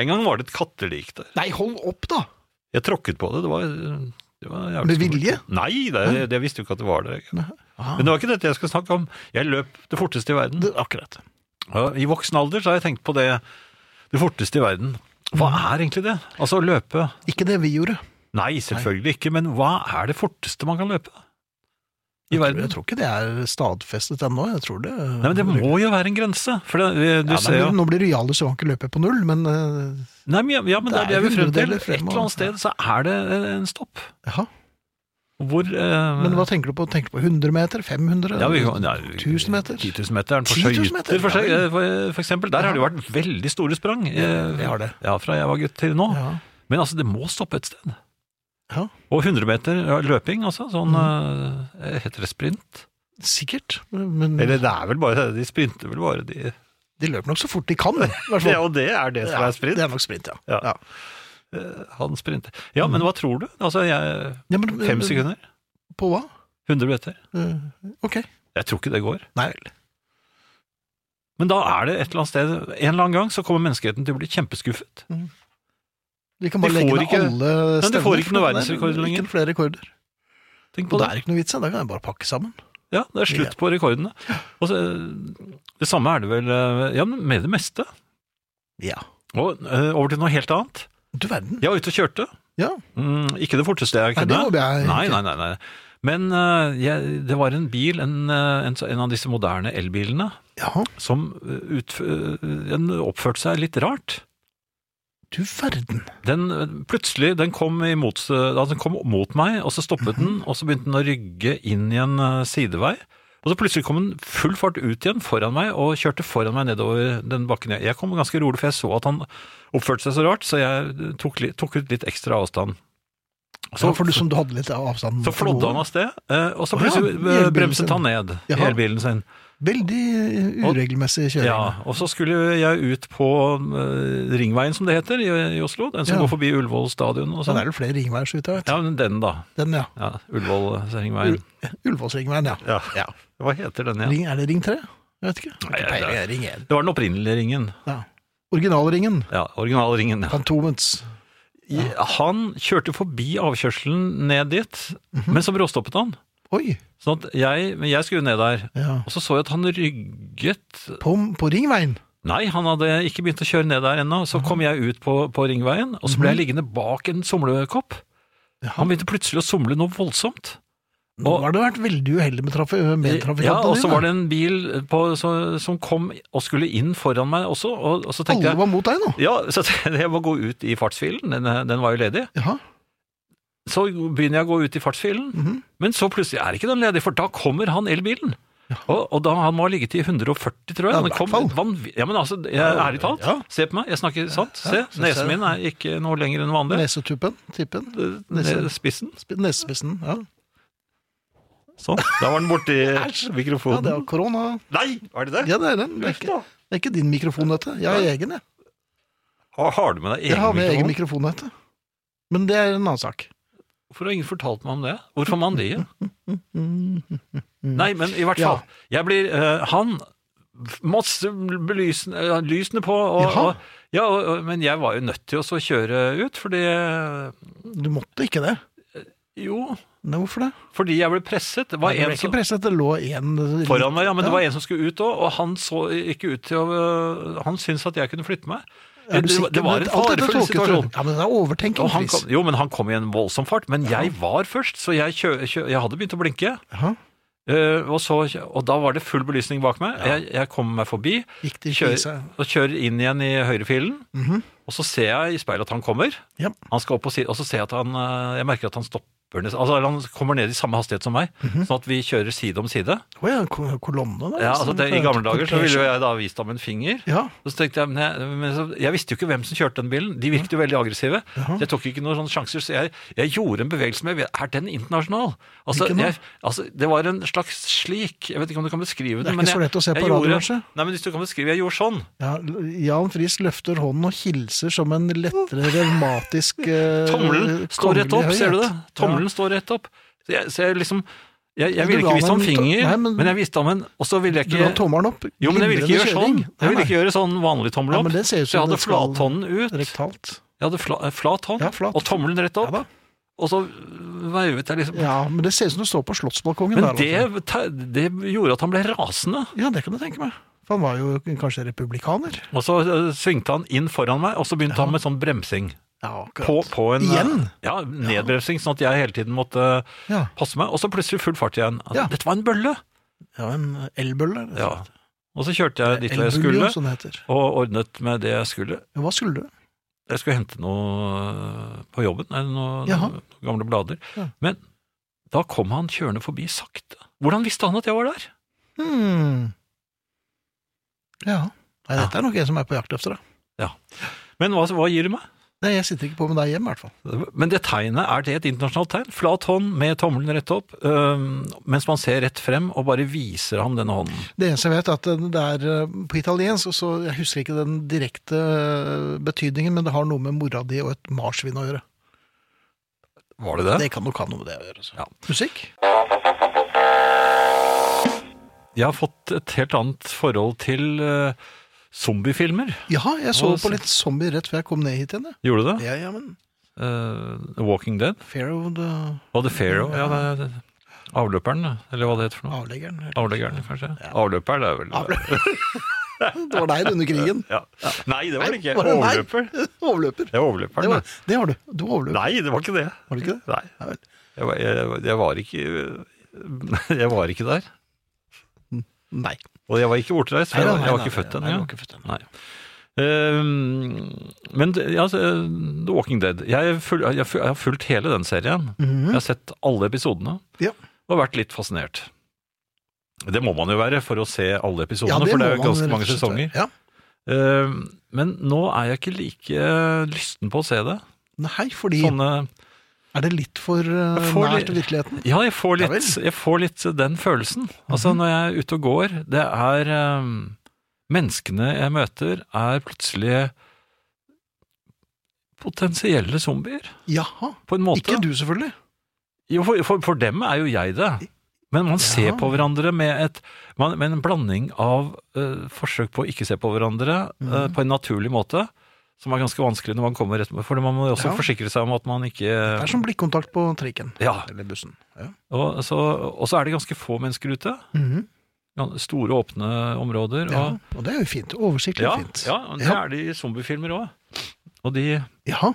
En gang var det et kattelik der.
Nei, hold opp, da!
Jeg tråkket på det. Det var, det var jævlig
Med
skummelt.
vilje?
Nei, det, det jeg visste jo ikke at det var det.
Ah,
Men det var ikke dette jeg skulle snakke om. Jeg løp det forteste i verden.
det- akkurat.
Ja, I voksen alder så har jeg tenkt på det. Det forteste i verden. Hva
Mm.
er egentlig det? Altså å løpe
Ikke det vi gjorde.
Nei, selvfølgelig ikke, men hva er det forteste man kan løpe? I
Jeg tror,
verden?
jeg tror ikke det er stadfestet ennå. Jeg tror det
Nei, men det må jo være en grense. For det, du
ja,
ser jo
men, Nå blir du jale, så han ikke løper på null, men eh,
Nei, men, ja, ja, men det er det jeg vil frem til.
hundredeler
Et
frem og-
eller annet sted så er det eh, en stopp.
ja.
Hvor eh,
Men hva tenker du på? Tenker du på 100 meter? 500?
ja, vi, nei, vi-
1000 meter?
10 000 meter er den for
10 000
skøyter, for,
meter, ja
skøy- eh, for, for eksempel. Der har det jo vært veldig store sprang. eh,
det har det.
Ja, fra jeg var gutt til nå.
Ja.
Men altså, det må stoppe et sted.
Ja. Mm.
Og 100 meter ja, løping, altså. Sånn eh, Heter det sprint?
Sikkert, men
Eller det er vel bare De sprinter vel bare, de.
de løper nok så fort de kan. i hvert
Det,
fall.
og det er det som
Ja,
er sprint.
Det er nok sprint, ja.
Ja.
Ja.
Eh, Han sprinter. Ja, men hva tror du? Altså, jeg
Ja, men-
Fem sekunder?
På hva?
100 100 billetter.
Eh, ok.
Jeg tror ikke det går.
Nei vel.
Men da er det et eller annet sted En eller annen gang så kommer menneskeheten til å bli kjempeskuffet.
Vi kan bare
De
legge
får
ned
ikke-
alle
de
stevner.
får ikke
for
noe
det er
verdensrekord lenger.
Ikke flere rekorder.
Tenk
Og
på
det
det.
er ikke noe vits i, da kan jeg bare pakke sammen.
Ja, det er slutt på rekordene. Og så, eh, det samme er det vel eh, ja, men med det meste.
Ja.
Og eh, over til noe helt annet.
Du verden.
Jeg var ute og kjørte.
Ja.
Mm, ikke det forteste jeg
Nei,
kunne.
det håper jeg
Nei,
ikke.
nei, nei, nei. Men eh, jeg, det var en bil, en, eh, en, så- en av disse moderne elbilene,
Ja,
som eh, utf- eh, den oppførte seg litt rart.
du verden.
Den, eh, plutselig, den kom, imot, s- da den kom mot meg, og så stoppet
Mhm.
den, og så begynte den å rygge inn i en eh, sidevei. Og så plutselig kom den full fart ut igjen foran meg, og kjørte foran meg nedover den bakken. Jeg- Jeg kom ganske rolig, for jeg så at han oppførte seg så rart, så jeg tok, li- tok ut litt ekstra avstand.
Så for du som du hadde litt avstand
Så flådde han av sted, eh, og
Å
så
ja,
plutselig
i elbilen
eh,
sin.
bremset han ned i
Jaha.
elbilen sin.
Veldig eh, uregelmessig kjøring.
Ja, og så skulle jeg ut på eh, ringveien, som det heter, i, i Oslo. Den som
Ja.
går forbi Ullevål stadion og
Så det
sånn.
er det flere ringveier så vidt jeg vet.
Ja, men den da.
Den, ja.
Ja, eh, Ullevål-ringveien.
Ullevålsringveien, ja.
Ja. Hva heter den igjen?
Ring, er det ring 3? Jeg vet ikke. Ikke
Nei, det er-
peiling, ring 1.
Det var den opprinnelige ringen.
Ja. Originalringen.
Ja, originalringen. Ja.
Fantomens.
I- Han kjørte forbi avkjørselen ned dit, men så bråstoppet han.
Oi!
Sånn at jeg, men jeg skulle jo ned der,
Ja.
og så så jeg at han rygget
På, på ringveien.
Nei, han hadde ikke begynt å kjøre ned der ennå. Så kom jeg ut på, på ringveien, og så ble jeg liggende bak en somlekopp. Han begynte plutselig å somle noe voldsomt.
Nå
Og-
har du vært veldig uheldig med, traf med trafikantene
Ja, og så
dine.
var det en bil på, så, som kom og skulle inn foran meg også, og, og så tenkte
Alle
jeg
var mot deg nå.
ja, så tenkte jeg jeg må gå ut i fartsfilen, den, den var jo ledig.
Jaha.
Så begynner jeg å gå ut i fartsfilen,
Mhm.
men så plutselig er ikke den ledig, for da kommer han elbilen. Og, og da han må ha ligget i 140, tror
Ja, i
jeg. Han
hvert
kom
fall.
vanv- ja, men altså, jeg, ærlig talt,
Ja.
se på meg, jeg snakker sant. Se,
Ja, så ser jeg.
nesen min er ikke noe lenger enn vanlig.
Nesetuppen. Tippen.
Ned
Nese,
spissen.
sp- nesespissen. Ja.
Sånn. Da var den borti
ja, det
mikrofonen.
er korona.
Nei, var det det?
Ja, det er den. Det er ikke, det er ikke din mikrofon, dette. Jeg har egen, jeg.
Har, har du med deg
Jeg har
egen
med egen
mikrofon?
mikrofon, dette. Men det er en annen sak.
Hvorfor har ingen fortalt meg om det? Hvorfor man det? Nei, men i hvert
Ja.
fall. Jeg blir eh, Han Masse belysene, eh, lysene på, og,
Jaha.
og, ja, og, og- men jeg var jo nødt til å så kjøre ut, fordi eh,
Du måtte ikke det.
Jo,
Nei, hvorfor det?
fordi jeg ble presset. Det var
Nei, det
en
ble ikke
som
presset, det lå en
foran meg, ja, men
Ja.
det var en som skulle ut òg, og han så ikke ut til å øh, Han syntes at jeg kunne flytte meg.
Er du
Det,
sikker?
det var en
Alt dette
farefull
tolket du.
situasjon.
Ja, men det er overtenking,
Og han
Chris.
kom, jo, men han kom i en voldsom fart. Men jeg var først, så jeg, kjø, kjø, jeg hadde begynt å blinke.
Jaha.
Eh, og, så, og da var det full belysning bak meg. Jeg, jeg kommer meg forbi
Gikk Mhm. det ikke i
kjører,
seg?
og kjører inn igjen i høyrefilen. Og så ser jeg i speilet at han kommer.
Ja.
Han skal opp og, si, og så ser jeg at han eh, Jeg merker at han stopper nes- altså, eller Han kommer ned i samme hastighet som meg, sånn at vi kjører side om side.
Mhm. Å ja, ko- kolonne, da.
Ja,
liksom.
altså, det, I gamle dager så ville
Kortesje.
jo jeg da vist ham en finger.
Ja,
Og Så tenkte jeg, men jeg, men så, jeg visste jo ikke hvem som kjørte den bilen. De virket jo veldig aggressive. Så jeg tok ikke noen sånne sjanser. Så jeg, jeg gjorde en bevegelse med Er den internasjonal? Altså,
Hvilken da?
jeg, altså, det var en slags slik Jeg vet ikke om du kan beskrive
Det er
den. men
ikke så
jeg-
lett å se
jeg
på radio,
gjorde-
kanskje?
Nei, men hvis du kan beskrive Jeg gjorde sånn.
ja, Jan Friis løfter hånden og hilser som en lettere revmatisk eh,
Tommelen står rett opp,
kongelig
ser du det?
høyhet.
Tommelen står rett opp. Så jeg, så jeg liksom Jeg,
Men
jeg
du
ville
la
ikke vist ham
den-
finger,
Nei, men-
men, jeg visste ham en Og så ville jeg
Ja. Du la
ikke
tommelen opp.
Jo, men jeg ville ikke gjøre sånn. Jeg ville ikke gjøre sånn vanlig tommel
Ja,
opp.
men det ser ut
så jeg
som
hadde
det skal-
flathånden ut.
Rektalt.
Jeg hadde fla, eh, flat hånd
Ja, flat.
og tommelen rett
Ja
opp.
da.
og så øh, veivet jeg liksom
Ja, men det ser ut som du står på slottsbalkongen der.
Men
altså.
det, te- det gjorde at han ble rasende.
Ja, det kan jeg tenke meg. For han var jo kanskje republikaner.
Og så øh, svingte han inn foran meg, og så begynte han med sånn bremsing.
Ja, akkurat.
På, på en,
Igjen?
øh, Ja, nedbremsing, sånn at jeg hele tiden måtte øh,
Ja.
passe meg. Og så plutselig full fart igjen. Altså,
Ja.
Dette var en bølle!
Ja, en elbølle. eller?
Ja. Og så kjørte jeg dit hvor jeg
Elbuljo,
skulle,
som det heter.
og ordnet med det jeg skulle.
Ja, Hva skulle du?
Jeg skulle hente noe øh, på jobben, eller noe,
Jaha.
noen gamle blader.
Ja.
Men da kom han kjørende forbi sakte. Hvordan visste han at jeg var der?
Hmm. Ja. Nei, dette er nok en som er på jakt etter deg.
Men hva, hva gir det meg?
Nei, jeg sitter ikke på med deg hjem, i hvert fall.
Men det tegnet, er det et internasjonalt tegn? Flat hånd med tommelen rett opp, øhm, mens man ser rett frem og bare viser ham denne hånden.
Det eneste jeg vet, er at den- det er eh, på italiensk, og så jeg husker ikke den direkte eh, betydningen, men det har noe med mora di og et marsvin å gjøre.
Var det det?
Det kan nok ha noe med det å gjøre. Så.
Ja.
altså. Musikk?
Jeg har fått et helt annet forhold til eh, zombiefilmer.
Ja, jeg så
Å,
på
se.
litt zombie rett før jeg kom ned hit igjen. jeg.
Gjorde du det?
Ja, ja, men
Eh, The Walking Dead
Pharaoh the
og The Pharaoh. Ja, det, er- avløperen, eller hva det heter for noe.
avleggeren.
Avleggeren, kanskje. Avløper, det er vel
Det var deg under krigen.
ja. Nei, det var det ikke.
Var det meg?
Overløper.
Overløper.
Det var
Det,
overløperen.
var, det har du. Du overløper.
Nei, det var ikke det.
Var det ikke det?
Nei.
Nei vel.
Jeg var, jeg, jeg var ikke Jeg var ikke der.
Nei.
Og jeg var ikke bortreist, for
Nei, nei,
jeg, var- jeg var
nei,
ikke
nei,
født
nei,
ennå.
nei, du
ja.
var ikke født ennå.
Nei. Ehm, men det- ja, altså, The Walking Dead jeg, ful, jeg, ful, jeg har fulgt hele den serien. Jeg har sett alle episodene
Mhm. Ja.
og vært litt fascinert. Det må man jo være for å se alle episodene,
Ja,
for det er
må
jo
man
ganske
rett og
mange
slett
sesonger.
være. Ja.
Ehm, men nå er jeg ikke like lysten på å se det.
Nei, fordi
Sånne
Er det litt for eh,
Jeg Sånn- får
nært
litt-
virkeligheten?
Ja, jeg får
Ja Mhm.
litt, jeg får litt den følelsen. Altså, når jeg er ute og går, det er ehm, Menneskene jeg møter, er plutselig potensielle zombier,
Jaha.
på en måte.
Ikke du, selvfølgelig.
Jo, for, for, for dem er jo jeg det. Men man ser på hverandre med, et, man, med en blanding av eh, forsøk på å ikke se på hverandre eh,
Mhm.
på en naturlig måte, som er ganske vanskelig når man kommer rett med, for man må jo også
Ja.
forsikre seg om at man ikke
Det er som blikkontakt på trikken.
Ja.
Eller bussen. Ja.
Og så, og så er det ganske få mennesker ute.
Mhm.
Gan- Store, åpne områder.
ja.
Og,
Og det er jo fint. Oversiktlig
ja,
fint.
ja, og det
Ja.
er det i zombiefilmer òg. Og de
Jaha.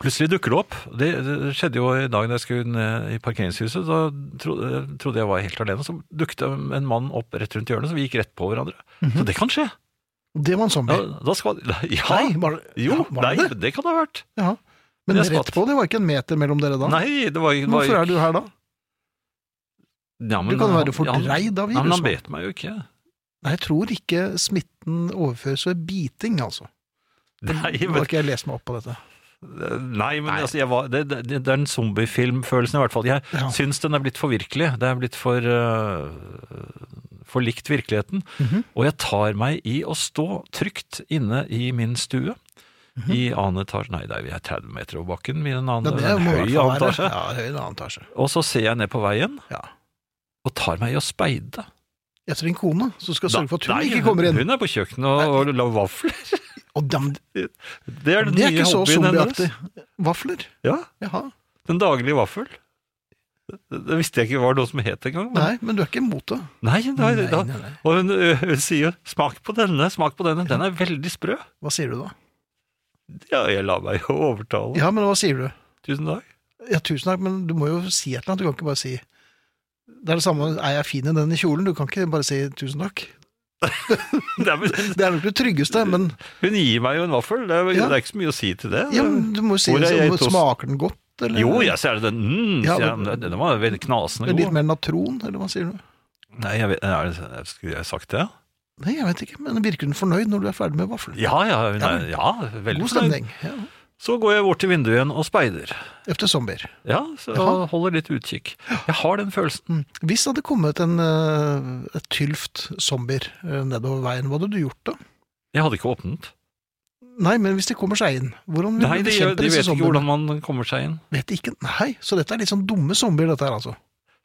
plutselig dukker det opp. Det, det skjedde jo i dag da jeg skulle ned i parkeringshuset. Da tro, eh, trodde jeg var helt alene. Så dukket en mann opp rett rundt hjørnet, så vi gikk rett på hverandre.
Mhm.
Så det kan skje.
Det var en zombie.
Ja, da skal, nei, ja,
Nei, var,
jo,
ja, var
nei,
det
det? kan det ha vært.
Ja. Men
Jeg
rett
skvatt.
på, det var ikke en meter mellom dere da?
Nei, det var ikke
Hvorfor er du her da?
ja,
Du kan være fordreid av
Ja, men
virus.
han bet meg jo ikke.
Nei, jeg tror ikke smitten overføres ved biting, altså.
Nei,
Nå
men
har ikke jeg lest meg opp på dette.
Nei, men Altså, jeg var, det, det, det er den zombiefilmfølelsen i hvert fall. Jeg
Ja.
syns den er blitt for virkelig. Det er blitt for, øh, for likt virkeligheten.
Mhm.
Og jeg tar meg i å stå trygt inne i min stue. I annen etasje Nei, det er, vi er 30 meter over bakken. Vi er en annen,
Mhm. Ja, det
en
må i
høy
hvert fall
annen
være.
etasje.
Ja, høy en annen etasje.
Og så ser jeg ned på veien,
Ja.
og tar meg i å speide.
Etter en kone, så skal
Da-
sørge for at hun
Nei,
ikke kommer inn.
Hun er på kjøkkenet og, og lager vafler.
Og dem,
Det er den
det er
nye
ikke så
hobbyen hennes.
zombieaktig. Vafler?
Ja,
Jaha.
den daglige vaffel. Det, det visste jeg ikke var noe som het engang. men-
Nei, men du er ikke imot det.
Nei, nei,
Nei,
da,
nei, nei.
og hun, ø, hun sier jo 'smak på denne', 'smak på denne'. Den er veldig sprø.
Hva sier du da?
Ja, jeg lar meg jo overtale.
Ja, men hva sier du?
Tusen takk.
Ja, tusen takk, men du må jo si et eller annet. Du kan ikke bare si Det er det samme, er jeg fin i den kjolen? Du kan ikke bare si tusen takk.
Nei, men,
Det er nok det tryggeste, men,
hun gir meg jo en vaffel. Det er,
Ja.
det er ikke så mye å si til det.
ja, men du må jo si
Hvor er
det
jeg
som
tos-
Smaker den godt, eller?
Jo, jeg ser det. Mm,
Ja,
sier jeg,
men-
den var veldig knasende
Litt
god.
mer natron, eller hva sier du?
Nei, jeg vet, er det, Skulle jeg sagt det?
Nei, jeg vet ikke, men virker den fornøyd når du er ferdig med vaflene?
Ja, ja, hun
Ja,
er,
men-
ja veldig
God
fornøyd.
stemning. Ja.
Så går jeg bort til vinduet igjen og speider.
Efter zombier.
Ja, så
Jaha.
Holder litt utkikk. Jeg har den følelsen.
Mm. Hvis det hadde kommet en, eh, et tylft zombier eh, nedover veien, hva hadde du gjort da?
Jeg hadde ikke åpnet.
Nei, men hvis de kommer seg inn, hvordan vil
Nei,
du
de,
bekjempe
de
disse
vet ikke
zombiene?
hvordan man kommer seg inn.
Vet ikke, nei, så dette er litt sånn dumme zombier dette her altså.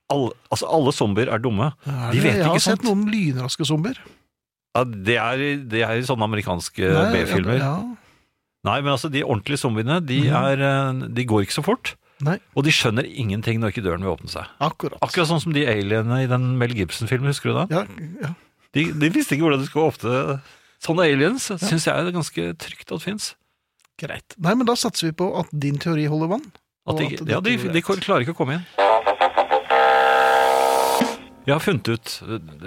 Alle, altså, alle zombier er dumme.
Er
De
det-
vet
Jeg
ikke
har
sant.
sett noen lynraske zombier.
Ja, det er, det er i sånne amerikanske
Nei,
B-filmer.
Ja, Mhm.
Nei, men altså, de ordentlige zombiene, de, er, eh, de går ikke så fort.
Nei.
Og de skjønner ingenting når ikke døren vil åpne seg.
akkurat.
Akkurat sånn som de alienene i den Mel Gibson-filmen, husker du da?
Ja, ja.
De, de visste ikke hvordan de skulle åpne Sånne aliens syns jeg er ganske trygt at fins.
Greit. Nei, men da satser vi på at din teori holder vann.
At
Og
de,
at
ja, de,
dette går
de
greit.
klarer ikke å komme inn. Jeg har funnet ut,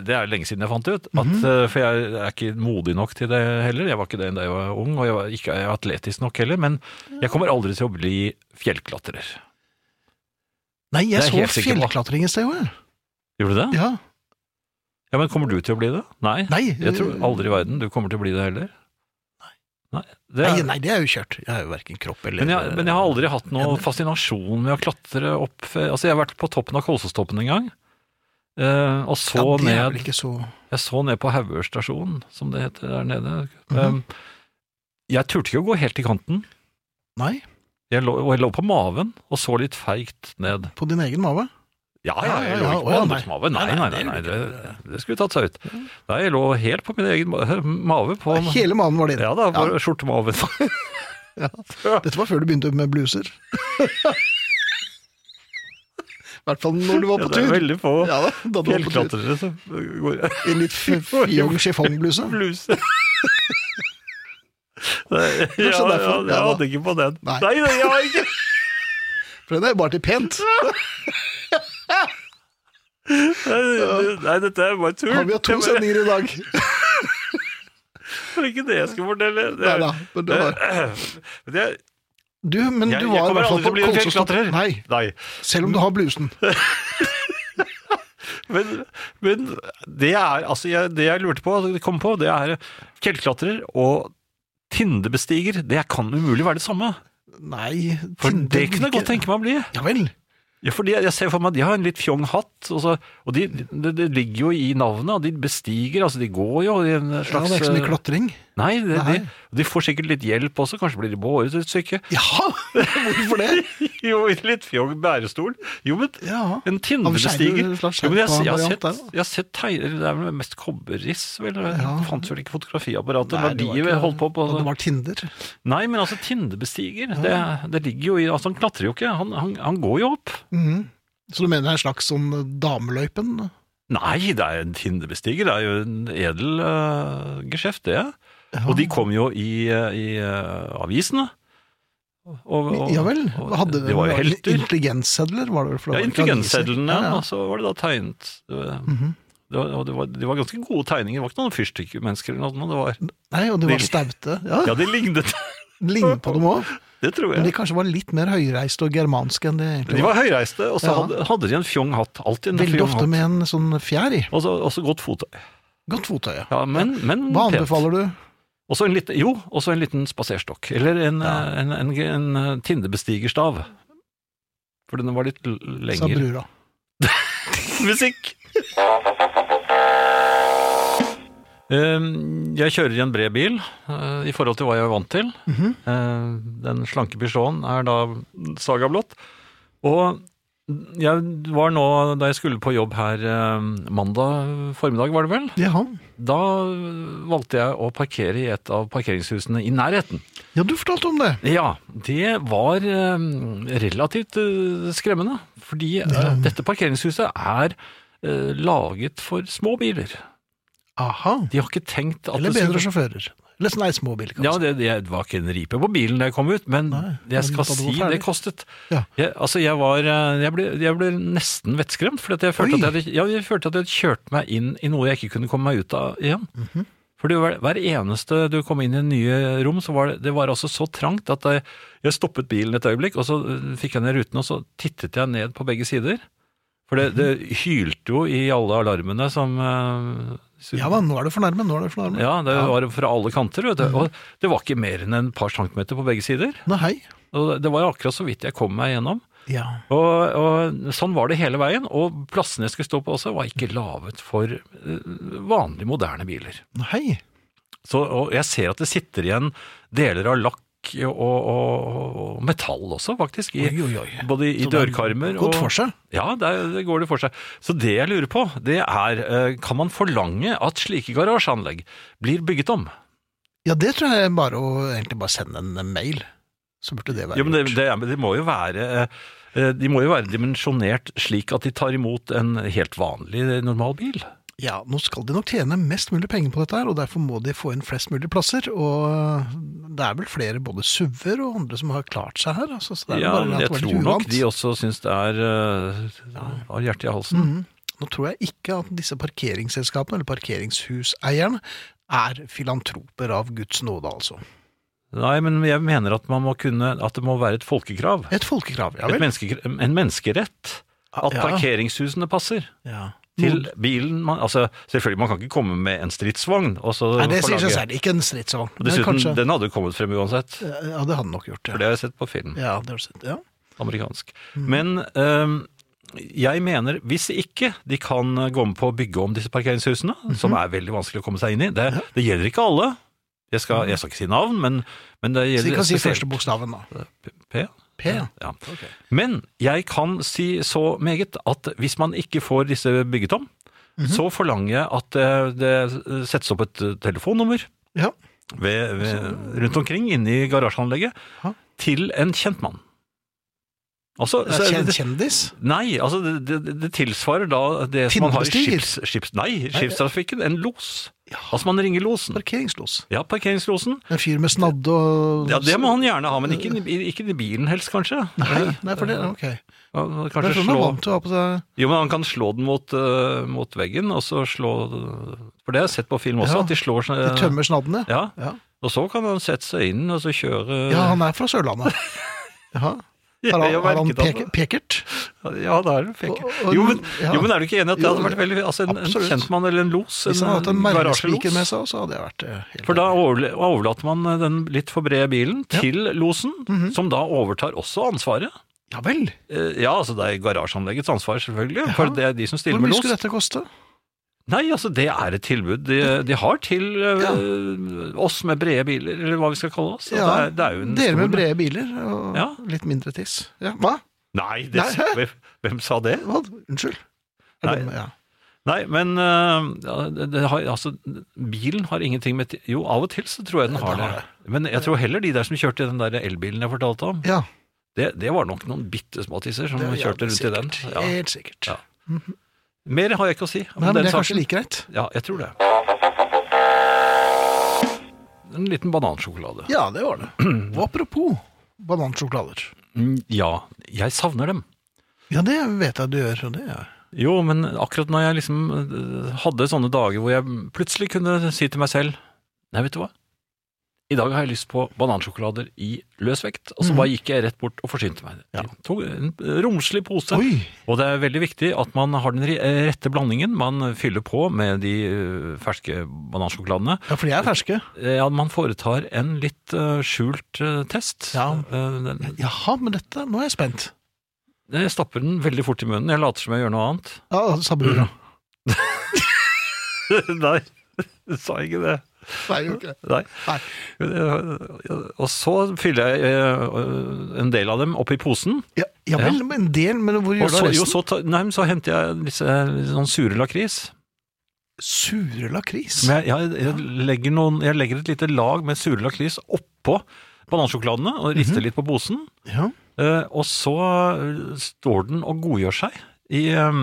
det er lenge siden jeg fant det ut, at,
Mhm.
eh, for jeg er ikke modig nok til det heller. Jeg var ikke det da jeg var ung, og jeg var ikke atletisk nok heller. Men jeg kommer aldri til å bli fjellklatrer.
Nei, jeg
Det er
så
jeg helt sikker på.
fjellklatring i sted òg, jeg.
Gjorde du det?
Ja.
Ja, men kommer du til å bli det? Nei.
Nei, eh,
Jeg tror aldri i verden du kommer til å bli det heller. Nei. det
Nei,
er,
nei, det er jo kjørt. Jeg er jo verken kropp eller
men, jeg, men jeg har aldri hatt noe fascinasjon med å klatre opp Altså, jeg har vært på toppen av Kolsåstoppen en gang. eh, og
ja,
så
det er vel
ned
ikke så
Jeg så ned på Haugør stasjon, som det heter der nede. Um, jeg turte ikke å gå helt til kanten.
Nei,
Jeg lå, og jeg lå på maven og så litt feigt ned.
på din egen mage.
Ja, ja, jeg lå
Ja, ja,
ikke
å,
på
ja,
andre
nei.
som havet. Nei, nei, nei, nei det, det skulle tatt seg ut. Nei, jeg lå helt på min egen ma- mave. På,
Hele mannen var din.
ja da, bare skjortemaven.
Dette var før du begynte med bluser. I hvert fall når du var
Ja,
på
det er
tur.
veldig få
Ja da, da du var på tur.
fjellklatrere som går
I en litt f- fjong chiffongbluse.
bluse. Nei, ja, ja,
derfor,
jeg
ja da.
hadde ikke på den.
Nei.
nei, jeg har ikke
For den er jo bare til pent.
Nei, Nei, dette er bare tull.
Har vi hatt to
Det var-
sendinger i dag?
Det var ikke det jeg skulle fortelle.
Nei
Det er,
da. Men det var.
det er,
Du, men
jeg,
du
jeg
var i
kommer
hvert fall på
aldri til å bli en
Kolsås.
fjellklatrer.
Nei,
Nei.
selv om du har blusen.
Men, men det er altså jeg, Det jeg lurte på, det kom på, det er eh, fjellklatrer og Tindebestiger. Det kan umulig være det samme.
Nei,
For
Tinder
det kunne jeg
virker-
godt tenke meg å bli.
Ja vel.
Ja, fordi jeg, jeg ser for meg at de har en litt fjong hatt, og, så, og de, det, det ligger jo i navnet, og de bestiger, altså de går jo i en
Ja,
slags
det er ikke så mye
eh,
klatring.
Nei, det,
Nei.
De, de får sikkert litt hjelp også, kanskje blir de båret et stykke.
Ja, hvorfor det?
Jo, i litt fjong bærestol. Jo, men
Ja.
en
Av
tindebestiger
skjerm- slags
jo, men jeg, jeg, har
skjermvariant
sett,
der, da.
jeg har sett tegner, det er vel mest kobberriss, vel? Det
Ja.
fantes vel ikke fotografiapparater
Nei,
da
det
de
var ikke-
holdt på på
da Det var Tinder.
Nei, men altså, tindebestiger, det, det ligger jo i Altså, han klatrer jo ikke, han, han, han går jo opp.
Mhm. Så du mener det er en slags sånn dameløypen?
Nei, det er en tindebestiger, det er jo en edel eh, geskjeft, det. Og de kom jo i, eh, i eh, avisene. Og, og-
Ja vel.
og
Hadde
de var jo helter.
Intelligenssedler var det vel? for det var
Ja,
ikke aviser.
intelligenssedlene,
Ja, ja.
og så var det da tegnet eh,
Mhm.
det var, og det, var, det var ganske gode tegninger, det var ikke noen fyrstikkmennesker eller noe. Det var,
Nei, og de var
De-
staute. Ja,
ja, de lignet,
Lignet på dem òg.
det tror
Men de
jeg.
kanskje var litt mer høyreiste og germanske enn de
De
egentlig var.
var høyreiste, og så
Ja.
hadde, hadde de en fjong hatt, alltid en
Veldig
fjong
ofte
hatt.
med en sånn fjær i.
Og så- og så godt fottøy.
Godt fottøy. ja.
Ja, men, men
Hva
Mm. pent.
anbefaler du?
Og så en liten, jo, og så en liten spaserstokk. Eller en, eh, en, en, en eh, tindebestigerstav. For den var litt l-
sa
lenger.
brura.
Musikk! Um, Jeg kjører i en bred bil, eh, i forhold til hva jeg er vant til.
Mhm.
Eh, Den slanke Peugeoten er da Saga blått. Og jeg var nå, da jeg skulle på jobb her eh, mandag formiddag, var det vel,
Jaha.
da valgte jeg å parkere i et av parkeringshusene i nærheten.
Ja, du fortalte om det.
Ja, det var eh, relativt eh, skremmende. Fordi eh,
Ja.
dette parkeringshuset er eh, laget for små biler.
Aha.
De har ikke tenkt at
Eller
det
bedre
skulle...
sjåfører. Eller sånn ei småbil,
Ja,
kanskje.
det, det var ikke en ripe på bilen da jeg kom ut, men
Nei,
det jeg
men
skal
da du var
si
ferdig.
det kostet.
Ja.
Jeg, altså, jeg var eh, Jeg ble, jeg ble nesten vettskremt, for at jeg, følte
Oi.
at jeg, hadde- ja, jeg følte at jeg hadde kjørt meg inn i noe jeg ikke kunne komme meg ut av igjen.
Mhm.
For det var- hver eneste du kom inn i nye rom, så var det, det var altså så trangt at jeg, jeg stoppet bilen et øyeblikk, og så eh, fikk jeg ned ruten, og så tittet jeg ned på begge sider. For det,
Mhm.
det hylte jo i alle alarmene som eh,
Ja, da, nå er det fornærmet. Nå er det fornærmet.
ja, det var fra alle kanter, vet du. Og det var ikke mer enn en par centimeter på begge sider.
Nei, hei.
Og det var akkurat så vidt jeg kom meg gjennom.
Ja.
Og, og sånn var det hele veien. Og plassene jeg skulle stå på også, var ikke laget for eh, vanlige, moderne biler.
Nå, Hei.
Så, og jeg ser at det sitter igjen deler av lakk og, og, og metall også, faktisk. I,
Oi, oi, oi.
Både
Så det
i
er
dørkarmer
Godt for seg.
ja, der det går det for seg. Så det jeg lurer på, det er eh, kan man forlange at slike garasjeanlegg blir bygget om?
Ja, det tror jeg er bare å egentlig bare sende en mail. Så burde det være
Jo, men det,
gjort.
det, er- men de må jo være eh, eh, de må jo være dimensjonert slik at de tar imot en helt vanlig, normal bil.
Ja, nå skal de nok tjene mest mulig penger på dette her, og derfor må de få inn flest mulig plasser. Og det er vel flere både SUV-er og andre som har klart seg her. Altså, så det er
Ja,
bare
men
at
Jeg
det var litt
tror nok
uvant.
de også syns det er eh, har hjertet i halsen.
Mhm. Nå tror jeg ikke at disse parkeringsselskapene, eller parkeringshuseierne, er filantroper av Guds nåde, altså.
Nei, men jeg mener at, man må kunne, at det må være et folkekrav.
Et folkekrav, ja
Et
vel? Ah,
menneske, en menneskerett. At
Ja.
parkeringshusene passer
Ja.
til bilen. Man, altså, selvfølgelig, man kan ikke komme med en stridsvogn. Og så
Nei, det sier seg
forlange-
selv. Ikke en stridsvogn.
Og
men
Dessuten,
kanskje-
den hadde jo kommet frem uansett.
Ja, det hadde den nok gjort,
For
ja.
det har jeg sett på film.
Ja, det har du sett. Ja.
amerikansk.
Mm.
Men øhm, jeg mener, hvis ikke de kan eh, gå med på å bygge om disse parkeringshusene,
Mhm.
som er veldig vanskelig å komme seg inn i, det, det gjelder ikke alle. Jeg skal, jeg skal ikke si navn, men, men det
Mhm. Så
gjelder
vi kan si
spesielt-
første bokstaven, da.
P?
P. Per, ja.
Ja. Men jeg kan si så meget at hvis man ikke får disse bygget om,
Mhm.
så forlanger jeg at eh, det settes opp et eh, telefonnummer
ja.
ved, ved, rundt omkring inne i garasjeanlegget
Ja.
til en kjent mann. Altså, så-
Kjen,
det-
kjendis?
Nei, altså det, det, det tilsvarer da det som man har i
Pinnebestiger?
skips, skips, nei, skipstrafikken, en los. Altså man ringer losen.
Parkeringslos.
Ja, parkeringslosen.
En fyr med snadde og
Ja, Det må han gjerne ha, men ikke, i- ikke i bilen helst, kanskje.
Nei, nei, for det Ok.
Han-
Det er
Kanskje
sånn han er
slå
vant til å ha på seg
Jo, men han kan slå den mot, eh, mot veggen, og så slå For det har jeg sett på film også,
Ja,
at de slår sånn
De
eh,
tømmer snaddene.
Ja.
Ja.
Og så kan han sette seg inn og så kjøre
Ja, han er fra Sørlandet. Jaha. Har han,
Jeg
har han
merket at-
peke, pekert?
Ja, det er en fake.
Og- og-
Jo, men,
ja.
jo, men er du ikke enig at det
Jo,
hadde vært veldig altså En, en
absolutt.
kjentmann eller en los?
Hvis han hadde hatt en mermespiker
garasjelos?
med seg, så hadde jeg vært eh, helt
For da overle- overlater man den litt for brede bilen til losen,
Mhm.
som da overtar også ansvaret.
Ja vel!
Eh, Ja, altså det er garasjeanleggets ansvar, selvfølgelig, for det er de som
Hvor
stiller med
mye
los.
skulle dette koste?
Nei, altså det er et tilbud de, de har til eh, oss med brede biler, eller hva vi skal kalle oss.
Ja,
det er, det er jo en
Dere med
stor-
brede biler og
Ja.
litt mindre tiss. Ja, hva?
Nei, det,
Nei,
hvem, hvem sa det?
hva? Unnskyld? Er
Nei.
det- ja.
Nei, men eh, ja, det, det har, altså, bilen har ingenting med ti- Jo, av og til så tror jeg den har det. Men jeg tror heller de der som kjørte i den der elbilen jeg fortalte om,
ja.
det, det var nok noen bitte små tisser som
Det er
kjørte rundt i den.
sikkert.
Ja.
Helt sikkert.
Ja. Mer har jeg ikke å si om
Nei, men
den
det er kanskje
saken.
like greit.
Ja, jeg tror det. En liten banansjokolade.
Ja, det var det. Og apropos banansjokolader.
Mm, Ja, jeg savner dem.
Ja, det vet jeg du gjør. Og det er.
Jo, men akkurat når jeg liksom eh, hadde sånne dager hvor jeg plutselig kunne si til meg selv Nei, vet du hva? I dag har jeg lyst på banansjokolader i løs vekt. Og
Mhm.
så bare gikk jeg rett bort og forsynte meg. Jeg Tok en romslig pose.
Oi!
Og det er veldig viktig at man har den ri- eh, rette blandingen. Man fyller på med de eh, ferske banansjokoladene.
Ja, for de er ferske.
Eh, Ja, man foretar en litt eh, skjult eh, test.
Ja.
Eh, den-
Jaha, men dette Nå er jeg spent.
Jeg stapper den veldig fort i munnen. Jeg later som jeg gjør noe annet.
Ja, sa
Mm.
brura.
Nei, du sa ikke det.
Nei, gjorde ikke det.
Nei.
Nei.
Eh, Og så fyller jeg eh, en del av dem oppi posen.
Ja, ja vel, men en del, men hvor
Og
gjør du
så,
av
jo,
resten?
så, ta- nei, men så henter jeg disse eh, sånn sure lakris.
Sure lakris.
Men jeg, jeg, jeg, legger noen, jeg legger et lite lag med sure lakris oppå banansjokoladene og rister litt på posen.
Ja.
Eh, og så eh, står den og godgjør seg i, eh,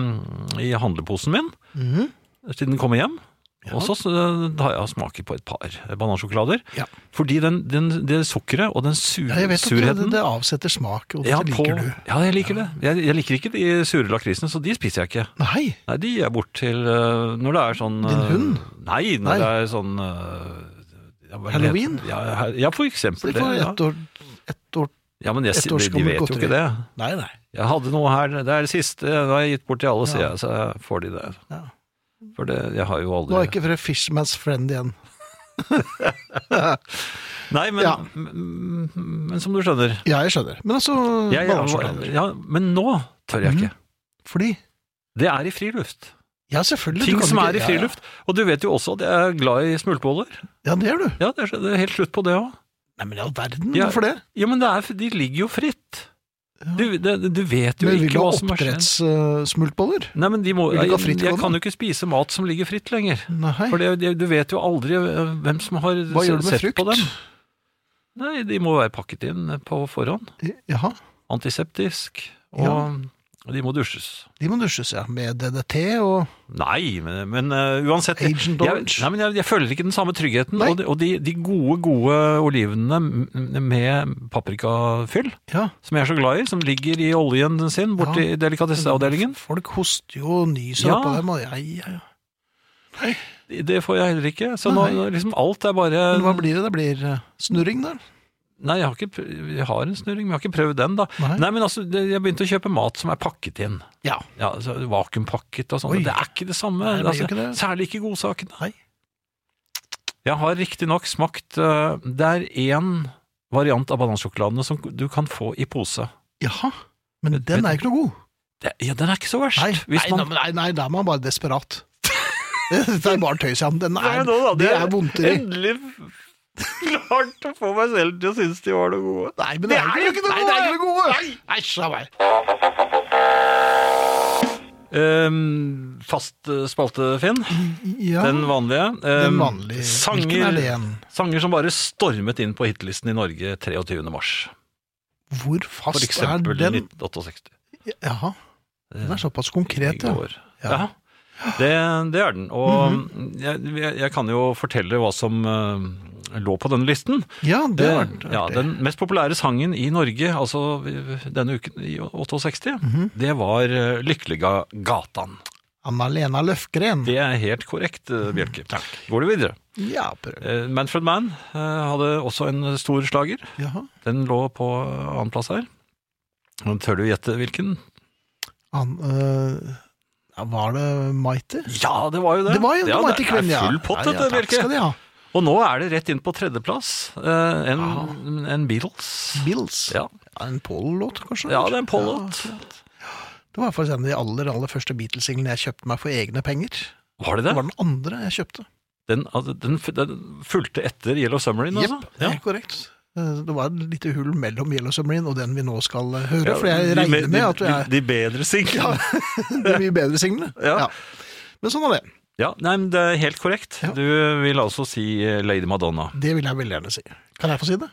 i handleposen min
Mhm.
til den kommer hjem.
Ja.
Og så eh, har jeg smaket på et par banansjokolader.
Ja.
Fordi den, den, det sukkeret og den sur,
ja, jeg vet at det,
surheten
det avsetter smak, og dette
ja,
liker
på-
du.
Ja, jeg liker det. Jeg, jeg liker ikke de sure lakrisene, så de spiser jeg ikke.
Nei,
Nei, de gir jeg bort til eh, når det er sånn
Din
eh,
hund?
Nei, når
Nei.
det er sånn eh, ja, hva heter-
Halloween?
Ja, he- ja, for
så
eksempel
det
det.
får
Ja.
ett år, ett år
ja, men jeg,
ett års
de, de
gammelt
vet jo
godteri.
ikke det.
Nei, nei.
Jeg hadde noe her, det er det siste, det har jeg gitt bort til alle, sier jeg, så får de det.
Ja.
For det, jeg har jo aldri
Nå er ikke fra Fishman's Friend igjen.
Nei, men,
Ja.
men, men som du skjønner
Ja, jeg skjønner. Men altså
jeg,
banansjokolader.
ja, Men nå tør jeg
Mm.
ikke.
Fordi
Det er i friluft.
Ja, selvfølgelig. du
Ting
kan
som
ikke-
er i
Ja,
friluft. Og du vet jo også at jeg er glad i smultboller.
Ja, ja det gjør du.
Ja, det er, det er helt slutt på det òg.
Nei, men i all verden,
Ja.
hvorfor det?
Ja, men det er, de ligger jo fritt. Du, det, du vet jo
Men vil du
ikke
ha
hva som har skjedd.
oppdrettssmultboller?
Nei, men de må,
Vil du ikke ha
jeg,
fritt
jeg
gående?
kan jo ikke spise mat som ligger fritt lenger.
Nei.
For det, det- du vet jo aldri eh, hvem som har
Hva gjør du med
sett på dem.
frukt?
Nei, de må være pakket inn eh, på forhånd.
Jaha.
Antiseptisk. Og de må dusjes.
De må dusjes, ja. Med DDT og
Nei, men, men eh, uansett
Agent
jeg,
Orange.
nei, men jeg, jeg føler ikke den samme tryggheten.
Nei.
Og, de, og de, de gode, gode olivenene m- med paprikafyll,
Ja.
som jeg er så glad i, som ligger i oljen sin borti
Ja.
delikatesseavdelingen,
Folk hoster jo og nyser
Ja.
oppå dem, og ja, ja, ja.
det får jeg heller ikke. Så nå,
Nei.
nå liksom alt er bare
Men hva blir det? Det blir eh, snurring, da?
Nei, jeg har, ikke, pr- jeg har en snurring, men jeg har ikke prøvd den, da.
Nei.
Nei, men altså, det- jeg begynte å kjøpe mat som er pakket inn.
Ja.
Ja, altså, Vakuumpakket og sånn.
Oi.
og Det er ikke det samme.
Nei, det er
altså,
jo ikke det.
Særlig ikke godsakene.
Nei.
Jeg har riktignok smakt eh, Det er én variant av banansjokoladene som du kan få i pose.
Jaha. Men
Vet-
den
vet-
er jo ikke noe god.
Det, ja, den er ikke så verst.
Nei,
Hvis
nei, nei,
man,
men nei, nei, da er man bare desperat. det er bare tøys, ja. men Den
Nei,
er,
nå da,
det er vondteri.
Endelig klart å få meg selv til å synes de var noe gode.
Nei, men
Det er jo ikke noe
Nei, det er ikke noe gode! Æsj a meg.
Ehm, fast eh, spalte, Finn.
Ja,
Den vanlige.
den
Ehm,
vanlige. Hvilken er det
Sanger,
igjen?
sanger som bare stormet inn på hitlisten i Norge 23. mars.
Hvor
For
fast er
eksempel
den?
1968.
Ja, den
Eh,
er såpass konkret,
i
ja.
går.
Ja. Mhm.
Ja. Det, det er den. Og jeg, jeg- jeg kan jo fortelle hva som eh, lå på denne listen.
Ja, det var
ja,
artig.
den mest populære sangen i Norge altså denne uken i 68,
Mhm.
det var eh, 'Lykkeliga gatan'.
Anna-Lena Løfgren.
Det er helt korrekt,
Mhm.
eh, Bjelke. Går du videre?
Ja, prøv.
Eh, Manfred Mann eh, hadde også en stor slager.
Jaha.
Den lå på annenplass her. Nå Tør du gjette hvilken?
An, øh, ja, var det Mighty?
Ja, det var jo det!
Det var jo
ja,
Mighty Kvinn,
Det
ja.
er full pott,
ja, ja,
dette,
takk
Bjelke.
skal de ha.
Og nå er det rett inn på tredjeplass. eh, en, en Beatles.
Bills.
Ja.
Ja, en Polo-låt, kanskje?
ja, det er en Pollot.
Det var faktisk en av de aller, aller første Beatles-singlene jeg kjøpte meg for egne penger.
Var det
Det
det?
var den andre jeg kjøpte.
Den, altså, den, f- den fulgte etter Yellow Submarine, altså?
Jepp, det er korrekt. Eh, Det var et lite hull mellom Yellow Submarine og den vi nå skal eh, høre,
Ja,
for jeg
de
regner med at vi
de,
er
de bedre singlene.
de mye bedre singlene.
Ja.
Men sånn er det.
Ja, nei, men det er helt korrekt.
Ja.
Du vil altså si eh, Lady Madonna.
Det vil jeg veldig gjerne si. Kan jeg få si det?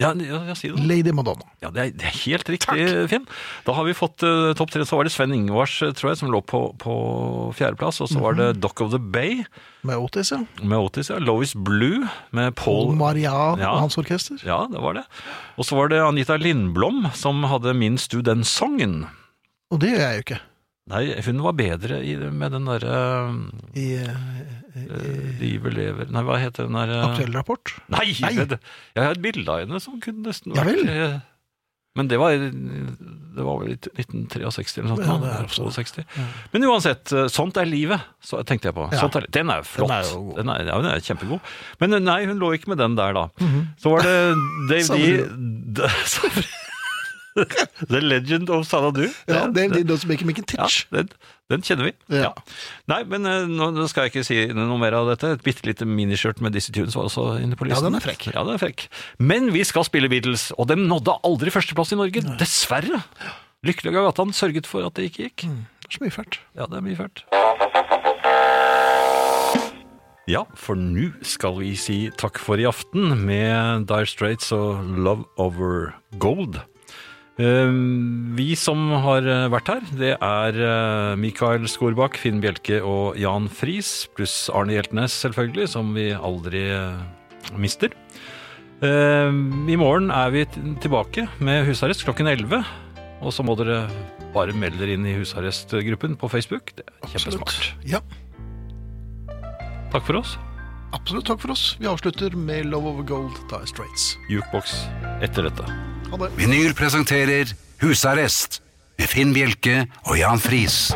Ja, ja, ja si det.
Lady Madonna.
Ja, det er, det er helt riktig, Finn. Da har vi fått eh, topp tre. Så var det Sven Ingvars, eh, tror jeg, som lå på, på fjerdeplass. Og så var det Dock of the Bay
Med Otis, ja.
med Otis. Ja. Lois Blue med
Paul
Paul
Marian
Ja.
og hans orkester.
Ja, det var det. Og så var det Anita Lindblom som hadde Minst du den sangen?
Og det gjør jeg jo ikke.
Nei, hun var bedre i, med den derre
I eh,
øh, Livet lever Nei, hva heter den eh? derre
aktuell rapport.
Nei!
Nei.
det- Jeg har et bilde av henne som kunne nesten
Ja vel.
eh, Men det var, det var vel i 1963 eller noe
Ja,
sånt.
det er også-
62. Men uansett, eh, sånt er livet, så tenkte jeg på.
Ja.
Sånt er, den er jo flott.
Den er jo god.
Den er, ja, den er kjempegod. Men eh, nei, hun lå ikke med den der, da.
Mhm.
Så var det Dave D. D- Savri- The Legend of Sanadu.
Ja,
Det-
det er noe som ikke Mikken
ja,
Titch.
den, den kjenner vi.
Ja.
Ja. Nei, men eh, nå nå skal jeg ikke si noe mer av dette. Et bitte lite miniskjørt med Dizzie Tunes var også inne på
Ja,
listen.
den er frekk.
Ja, den er frekk. Men vi skal spille Beatles, og dem nådde aldri førsteplass i Norge. Dessverre. Lykkelig av gatan sørget for at det ikke gikk.
Mm. Det er Så mye fælt.
Ja, det er mye fælt. Ja, for nå skal vi si takk for i aften med Dire Straits og Love Over Gold. Eh, Vi som har eh, vært her, det er eh, Mikael Skorbakk, Finn Bjelke og Jan Friis, pluss Arne Hjeltnes selvfølgelig, som vi aldri eh, mister. Eh, I morgen er vi t- tilbake med husarrest klokken 11. Og så må dere bare melde dere inn i husarrestgruppen på Facebook. Det er kjempesmart.
Ja,
Takk for oss.
absolutt. Takk for oss. Vi avslutter med Love of Gold, Dire Straits.
Jukebox etter dette.
Ha det.
Vinyl presenterer Husarrest med Finn Bjelke og Jan Friis.